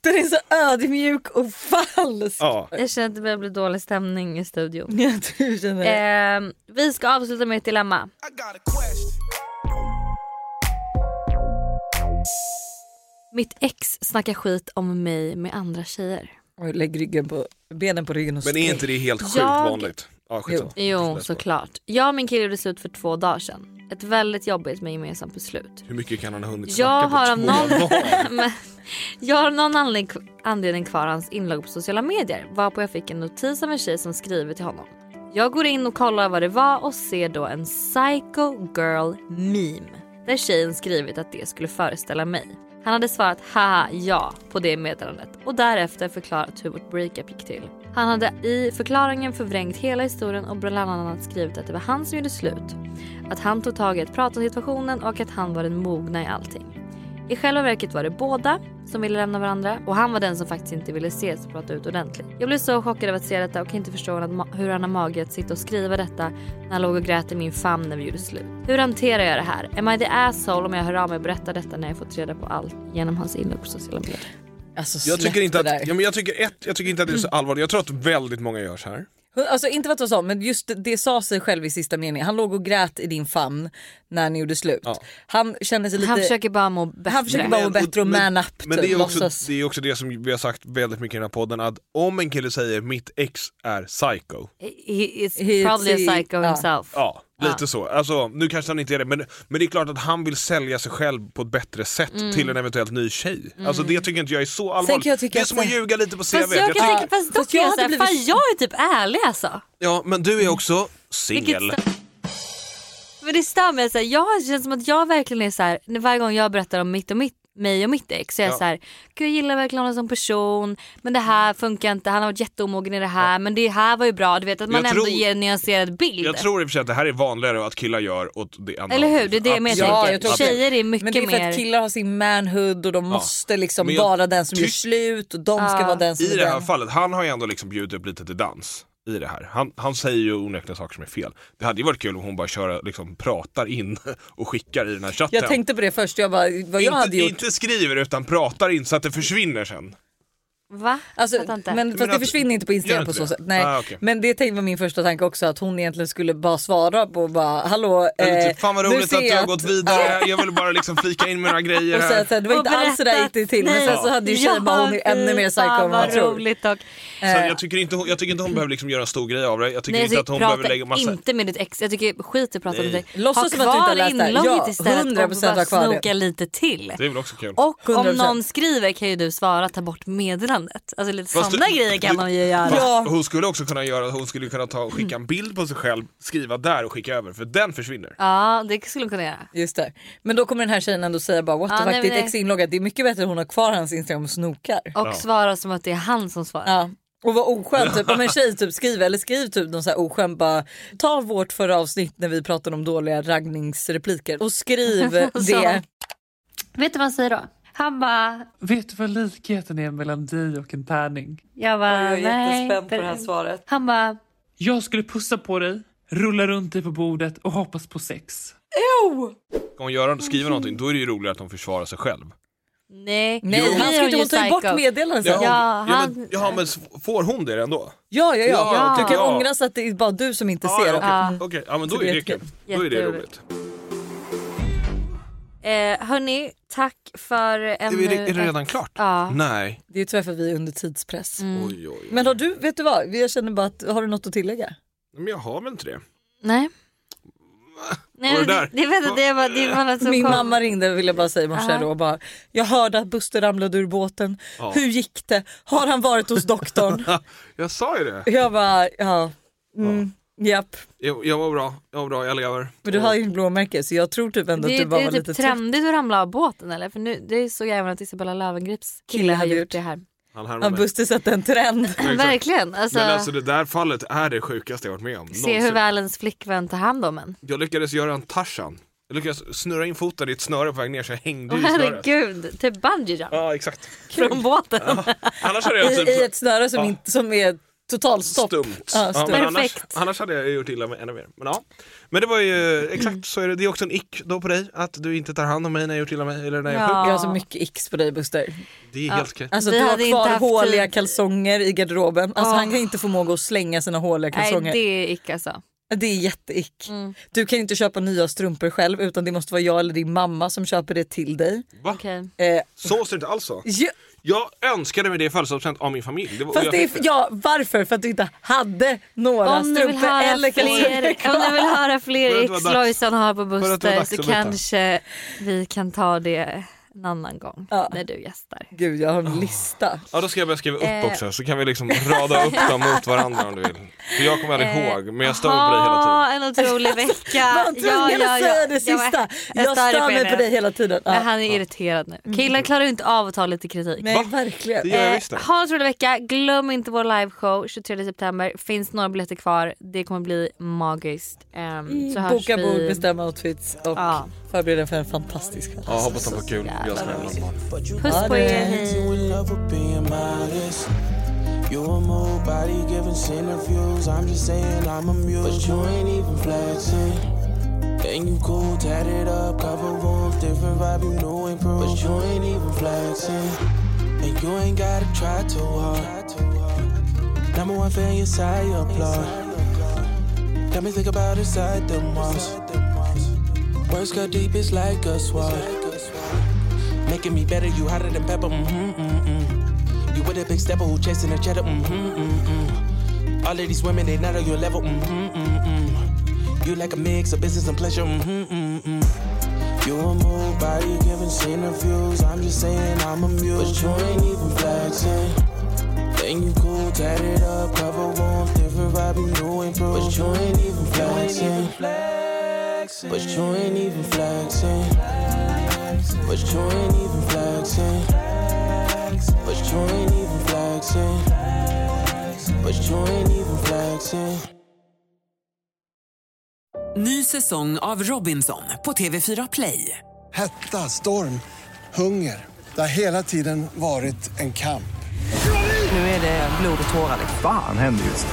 B: Den är så ödmjuk och falsk.
A: Ja.
C: Jag känner att det börjar bli dålig stämning i studion.
B: Ja, du känner det.
C: Ehm, vi ska avsluta med ett dilemma. Mitt ex snackar skit om mig med andra tjejer.
B: Oj, lägg ryggen på, benen på ryggen och
A: Men är inte det helt sjukt
C: Jag-
A: vanligt? Ja, skitsamma.
C: Jo, såklart. Jag och min kille gjorde slut för två dagar sedan. Ett väldigt jobbigt men gemensamt beslut.
A: Hur mycket kan han ha hunnit snacka
C: Jag
A: på
C: har, av
A: två
C: någon,
A: dagar?
C: men, jag har av någon anledning, anledning kvar hans inlogg på sociala medier varpå jag fick en notis av en tjej som skriver till honom. Jag går in och kollar vad det var och ser då en psycho girl meme där tjejen skrivit att det skulle föreställa mig. Han hade svarat haha ja på det meddelandet och därefter förklarat hur vårt breakup gick till. Han hade i förklaringen förvrängt hela historien och bland annat skrivit att det var han som gjorde slut, att han tog tag i att prata om situationen och att han var den mogna i allting. I själva verket var det båda som ville lämna varandra och han var den som faktiskt inte ville ses och prata ut ordentligt. Jag blev så chockad av att se detta och kan inte förstå att- hur han har mage att sitta och skriva detta när han låg och grät i min famn när vi gjorde slut. Hur hanterar jag det här? Am I the asshole om jag hör av mig och berättar detta när jag fått reda på allt genom hans inlägg på sociala medier?
B: Alltså,
A: Jag tycker,
B: släpp
A: inte
B: det där. Mm.
A: att, ja, men jag, tycker ett, jag tycker inte att det är så allvarligt. Jag tror att väldigt många gör så här.
B: Hon- Alltså inte för att hon sa men just det, det sa sig själv i sista meningen. Han låg och grät i din famn när ni gjorde slut. Han kände sig lite...
C: Han försöker bara må bättre.
B: Han försöker bara må
A: Men-
B: bättre och
A: men-
B: man up.
A: Men
B: typ,
A: det är, också,
B: låtsas.
A: det är också det som vi har sagt väldigt mycket i den här podden att om en kille säger mitt ex är psycho.
C: He is
B: He-
C: probably a
B: he-
C: psycho
B: ja.
C: himself.
A: Ja, lite så. Alltså, nu kanske han inte är det men, men det är klart att han vill sälja sig själv på ett bättre sätt
C: Mm.
A: till en eventuellt ny tjej.
C: Mm.
A: Alltså det tycker inte jag är så
B: Sen
A: allvarligt.
B: kan jag tycka
A: det är
B: att
A: som att
B: det-
A: ljuga lite på CV.
C: Fast jag kan
A: tycker-
C: tänka, fast dock
B: Fast
C: är
B: jag
C: jag
B: hade
C: såhär,
B: blivit-
C: fan jag är typ ärlig alltså.
A: Ja men du är också singel.
C: Vilket Men det stör mig. Så här, jag känns som att jag verkligen är så här, när varje gång jag berättar om mitt och mitt, mig och mitt ex så är jag
A: Ja.
C: så här, Gud, jag gillar verkligen honom som person men det här funkar inte, han har varit jätteomogen i det här men det här var ju bra. Du vet att man
A: Jag
C: ändå
A: tror-
C: ger en nyanserad bild.
A: Jag tror i och för sig att det här är vanligare att killar gör åt det andra
C: Eller hur? Det är det
A: Absolut.
C: men jag tänker.
B: jag tror också det.
C: Tjejer är mycket
B: men det är för
C: mer...
B: att killar har sin manhood och de måste liksom
A: Men jag
B: vara den som
A: tyck-
B: gör slut och de ska vara den som
A: I
B: är
A: det här
B: den.
A: fallet, han har ju ändå liksom bjudit upp lite till dans i det här. Han, han säger ju onekligen saker som är fel. Det hade ju varit kul om hon bara kör, liksom, pratar in och skickar i den här chatten.
B: Jag tänkte på det först, jag bara, vad jag
A: inte,
B: hade gjort.
A: inte skriver utan pratar in så att det försvinner sen.
C: Va?
B: Alltså,
C: Fattar inte.
B: men fast det
A: att-
B: försvinner inte på
A: Gör
B: Instagram
A: inte
B: på så
A: det?
B: sätt. Nej.
A: Ah, okej.
B: Men det tänkte var min första tanke också att hon egentligen skulle bara svara på bara hallå
A: Eller
B: eh,
A: typ, fan vad
B: nu
A: roligt
B: ser
A: att du
B: jag
A: har gått vidare, jag ville bara liksom flika in mina grejer
B: Och säga
A: här.
B: såhär, det var inte alls så där gick det till. Men sen så hade ju tjejen bara, hon är ännu mer psycho än vad man tror.
C: roligt och...
A: Så jag, tycker inte, hon- jag tycker inte hon behöver liksom göra en stor grej av det. Jag tycker
C: Nej,
A: inte
C: jag
A: att hon
C: prata
A: behöver lägga massa...
C: inte med ditt ex. Jag tycker skit i att prata med
A: Nej.
C: dig.
B: Låtsas
C: ha
B: som att du inte har
C: kvar
B: läst det här.
C: inlogget
B: Ja,
C: istället
B: 100%
C: och
B: ha
C: bara
B: kvar det.
C: snoka lite till.
A: Det är väl också kul.
C: Och om
B: 100%.
C: någon skriver kan ju du svara ta bort meddelandet. Alltså lite
A: Fast
C: sådana
A: du-
C: grejer kan
A: du-
C: man ju göra.
A: Fast Hon skulle också kunna göra, hon skulle kunna ta och skicka en bild på sig själv, skriva där och skicka över för den försvinner.
C: Ja det skulle hon kunna göra.
B: Just det. Men då kommer den här tjejen ändå säga bara what the
C: Ja,
B: fuck
C: nej,
B: ditt
C: men-
B: ex är inloggat. Det är mycket bättre att hon har kvar hans Instagram och snokar.
C: Och svara som att det är han som svarar.
B: Ja. Och vad oskönt typ, om en tjej typ skriver eller skriv typ någon så här oskön bara ta vårt förra avsnitt när vi pratade om dåliga raggningsrepliker och skriv
C: Så.
B: det.
C: Vet du vad han säger då? Han bara,
D: Vet du vad likheten är mellan dig och en tärning?
C: jag
D: Oj,
C: bara
D: jag är
C: nej.
D: jättespänd på det här svaret.
C: Han bara,
D: Jag skulle pussa på dig, rulla runt dig på bordet och hoppas på sex.
C: Ew!
A: Ska hon göra, skriva någonting då är det ju roligare att hon försvarar sig själv.
C: Nej,
B: Nej, han
C: då blir
B: ska inte-
C: ju
B: hon tar ju bort
C: psycho.
B: meddelandet sen.
C: Ja,
A: Ja,
C: han,
A: men, ja men s- får hon det ändå?
B: Ja, ja, ja.
A: Ja,
B: Du
A: okej,
B: kan
A: ja.
B: ångras att det är bara du som inte
A: Ja,
B: ser.
A: ja,
B: det.
A: okej. Okej, ja men
B: Så
A: då
B: det
A: är
B: är
A: det
B: jätte-
A: kul. Då är det
C: jätteroligt.
A: roligt.
C: eh, hörni, tack för en...
A: Är det- är det redan klart?
C: Ja.
A: Nej.
B: Det
A: Mm.
B: är tyvärr för att vi är under tidspress.
A: Oj, oj.
B: Men har du, vet du vad, jag känner bara att, har du något att tillägga?
A: Men jag har väl inte det?
N: Nej.
A: Var
N: Nej,
A: det
N: det,
A: där?
N: det, vet jag, det var det var något som
B: Min
N: kom.
B: mamma ringde vill jag bara säga i morse
N: Ja.
B: då och bara Jag hörde att Buster ramlade ur båten.
A: Ja.
B: Hur gick det? Har han varit hos doktorn?
A: jag sa ju det.
B: jag bara ja. Mm, Japp.
A: Jag, jag var bra, jag var bra, jag lever.
B: Men du har ju ett blåmärke så jag tror typ ändå
C: Det
B: att
C: är,
B: du bara
C: det är
B: var
C: typ
B: lite trött.
C: trendigt att ramla av båten eller? För nu, det såg jag även att Isabella Löwengrips kille har gjort det här.
A: Han härmar
B: Ja,
A: mig.
B: Buster satte en trend.
A: Exakt.
C: Verkligen, alltså,
A: Men alltså det där fallet är det sjukaste jag varit med om.
C: se hur
A: någonsin.
C: väl ens flickvän tar hand om en.
A: Jag lyckades göra en Tarzan. Jag lyckades snurra in foten i ett snöre på väg ner så jag hängde
C: Åh
A: i snöret.
C: herregud, typ bungee jump
A: Ja exakt.
C: från båten.
A: Annars hade jag typ...
B: I, i ett snöre som,
A: Ja.
B: inte, som är totalstopp.
A: Stumt.
B: Ja,
A: Ja,
B: stumt.
A: men annars, annars hade jag gjort illa mig ännu mer. Men, ja. men det var ju exakt så är det. Det är också en ick då på dig att du inte tar hand om mig när jag gjort illa mig eller när jag är
B: Jag har
A: sjuk.
B: så mycket x på dig Buster.
A: Det är
B: Ja.
A: helt okej.
B: Alltså
C: Vi
B: du har
C: hade inte
B: kvar
C: haft
B: håliga
C: tid.
B: kalsonger i garderoben. Alltså
C: Åh.
B: han kan inte förmåga att slänga sina håliga
C: Nej
B: kalsonger.
C: det Mm. är icke alltså.
B: det... är jätteick. Du kan inte köpa nya strumpor själv utan det måste vara jag eller din mamma som köper det till dig.
A: Va?
B: Eh,
A: Så ser det inte alls så.
B: Ja.
A: Jag önskade mig det i födelsedagspresent av min familj. Det var-
B: Fast
A: jag-
B: det är, ja, varför? För att du inte hade några
C: Om ni, vill
B: strumpor
C: höra
B: eller
C: fler,
B: kalsonger kvar.
C: om ni vill höra
B: Börjar
C: fler
B: det vara
C: ex
B: dags?
C: Lojsan har på
B: Börjar det vara
C: Buster
B: dags
C: så
B: att byta?
C: kanske vi kan ta det en annan gång när du gästar.
B: Gud jag har en lista.
A: Ja då ska jag börja skriva upp
C: Eh.
A: också så kan vi liksom rada upp dem mot varandra om du vill. För jag kommer aldrig
C: Eh,
A: ihåg men jag stör på dig hela tiden.
C: en otrolig vecka.
B: Var tvungen att säga det
C: jag-
B: sista. Jag
C: störde
B: stör mig
C: henne.
B: på dig hela tiden. Ja. Mm.
C: Men han är irriterad nu. Killar klarar ju inte av att ta lite kritik.
B: Nej verkligen.
C: Eh, ha en otrolig vecka. Glöm inte vår liveshow 23 september. Finns några biljetter kvar. Det kommer bli magiskt. Ehm, så hörs
B: Mm, Boka
C: vi.
B: bord, bestämma outfits och förbered er för en fantastisk kväll.
A: Ja hoppas de får kul. Jag ska med.
C: Puss på er. Hej.
O: You in love with being modest. You a move body giving sin views. I'm just saying I'm amused. But you ain't even flexing. And you cool, tatted up, cover wounds, different vibe, you know improve. But you ain't even flexing. And you ain't gotta try too hard. Number one fan, your side, you applaud. Got me think about inside the walls. Words cut deep, it's like a sword. Making me better, you hotter than pepper. Mm-hmm, mm-hmm. You with a big stepper who chasing the cheddar. Mm-hmm, mm-hmm. All of these women, they not on your level. Mm-hmm, mm-hmm. You like a mix of business and pleasure. Mm-hmm, mm-hmm. You a move body giving scene of views. I'm just saying I'm amused. But you ain't even flexing. And you cool, tatted up, cover wounds, different vibe, you know improve. But you ain't even flexing. But you ain't even flexing. But you ain't even flexing. But you ain't even flexing. But you ain't even flexing.
G: Ny säsong av Robinson på TV4 Play.
K: Hetta, storm, hunger. Det har hela tiden varit en kamp.
G: Nu är det blod och tårar.
P: Fan händer just det.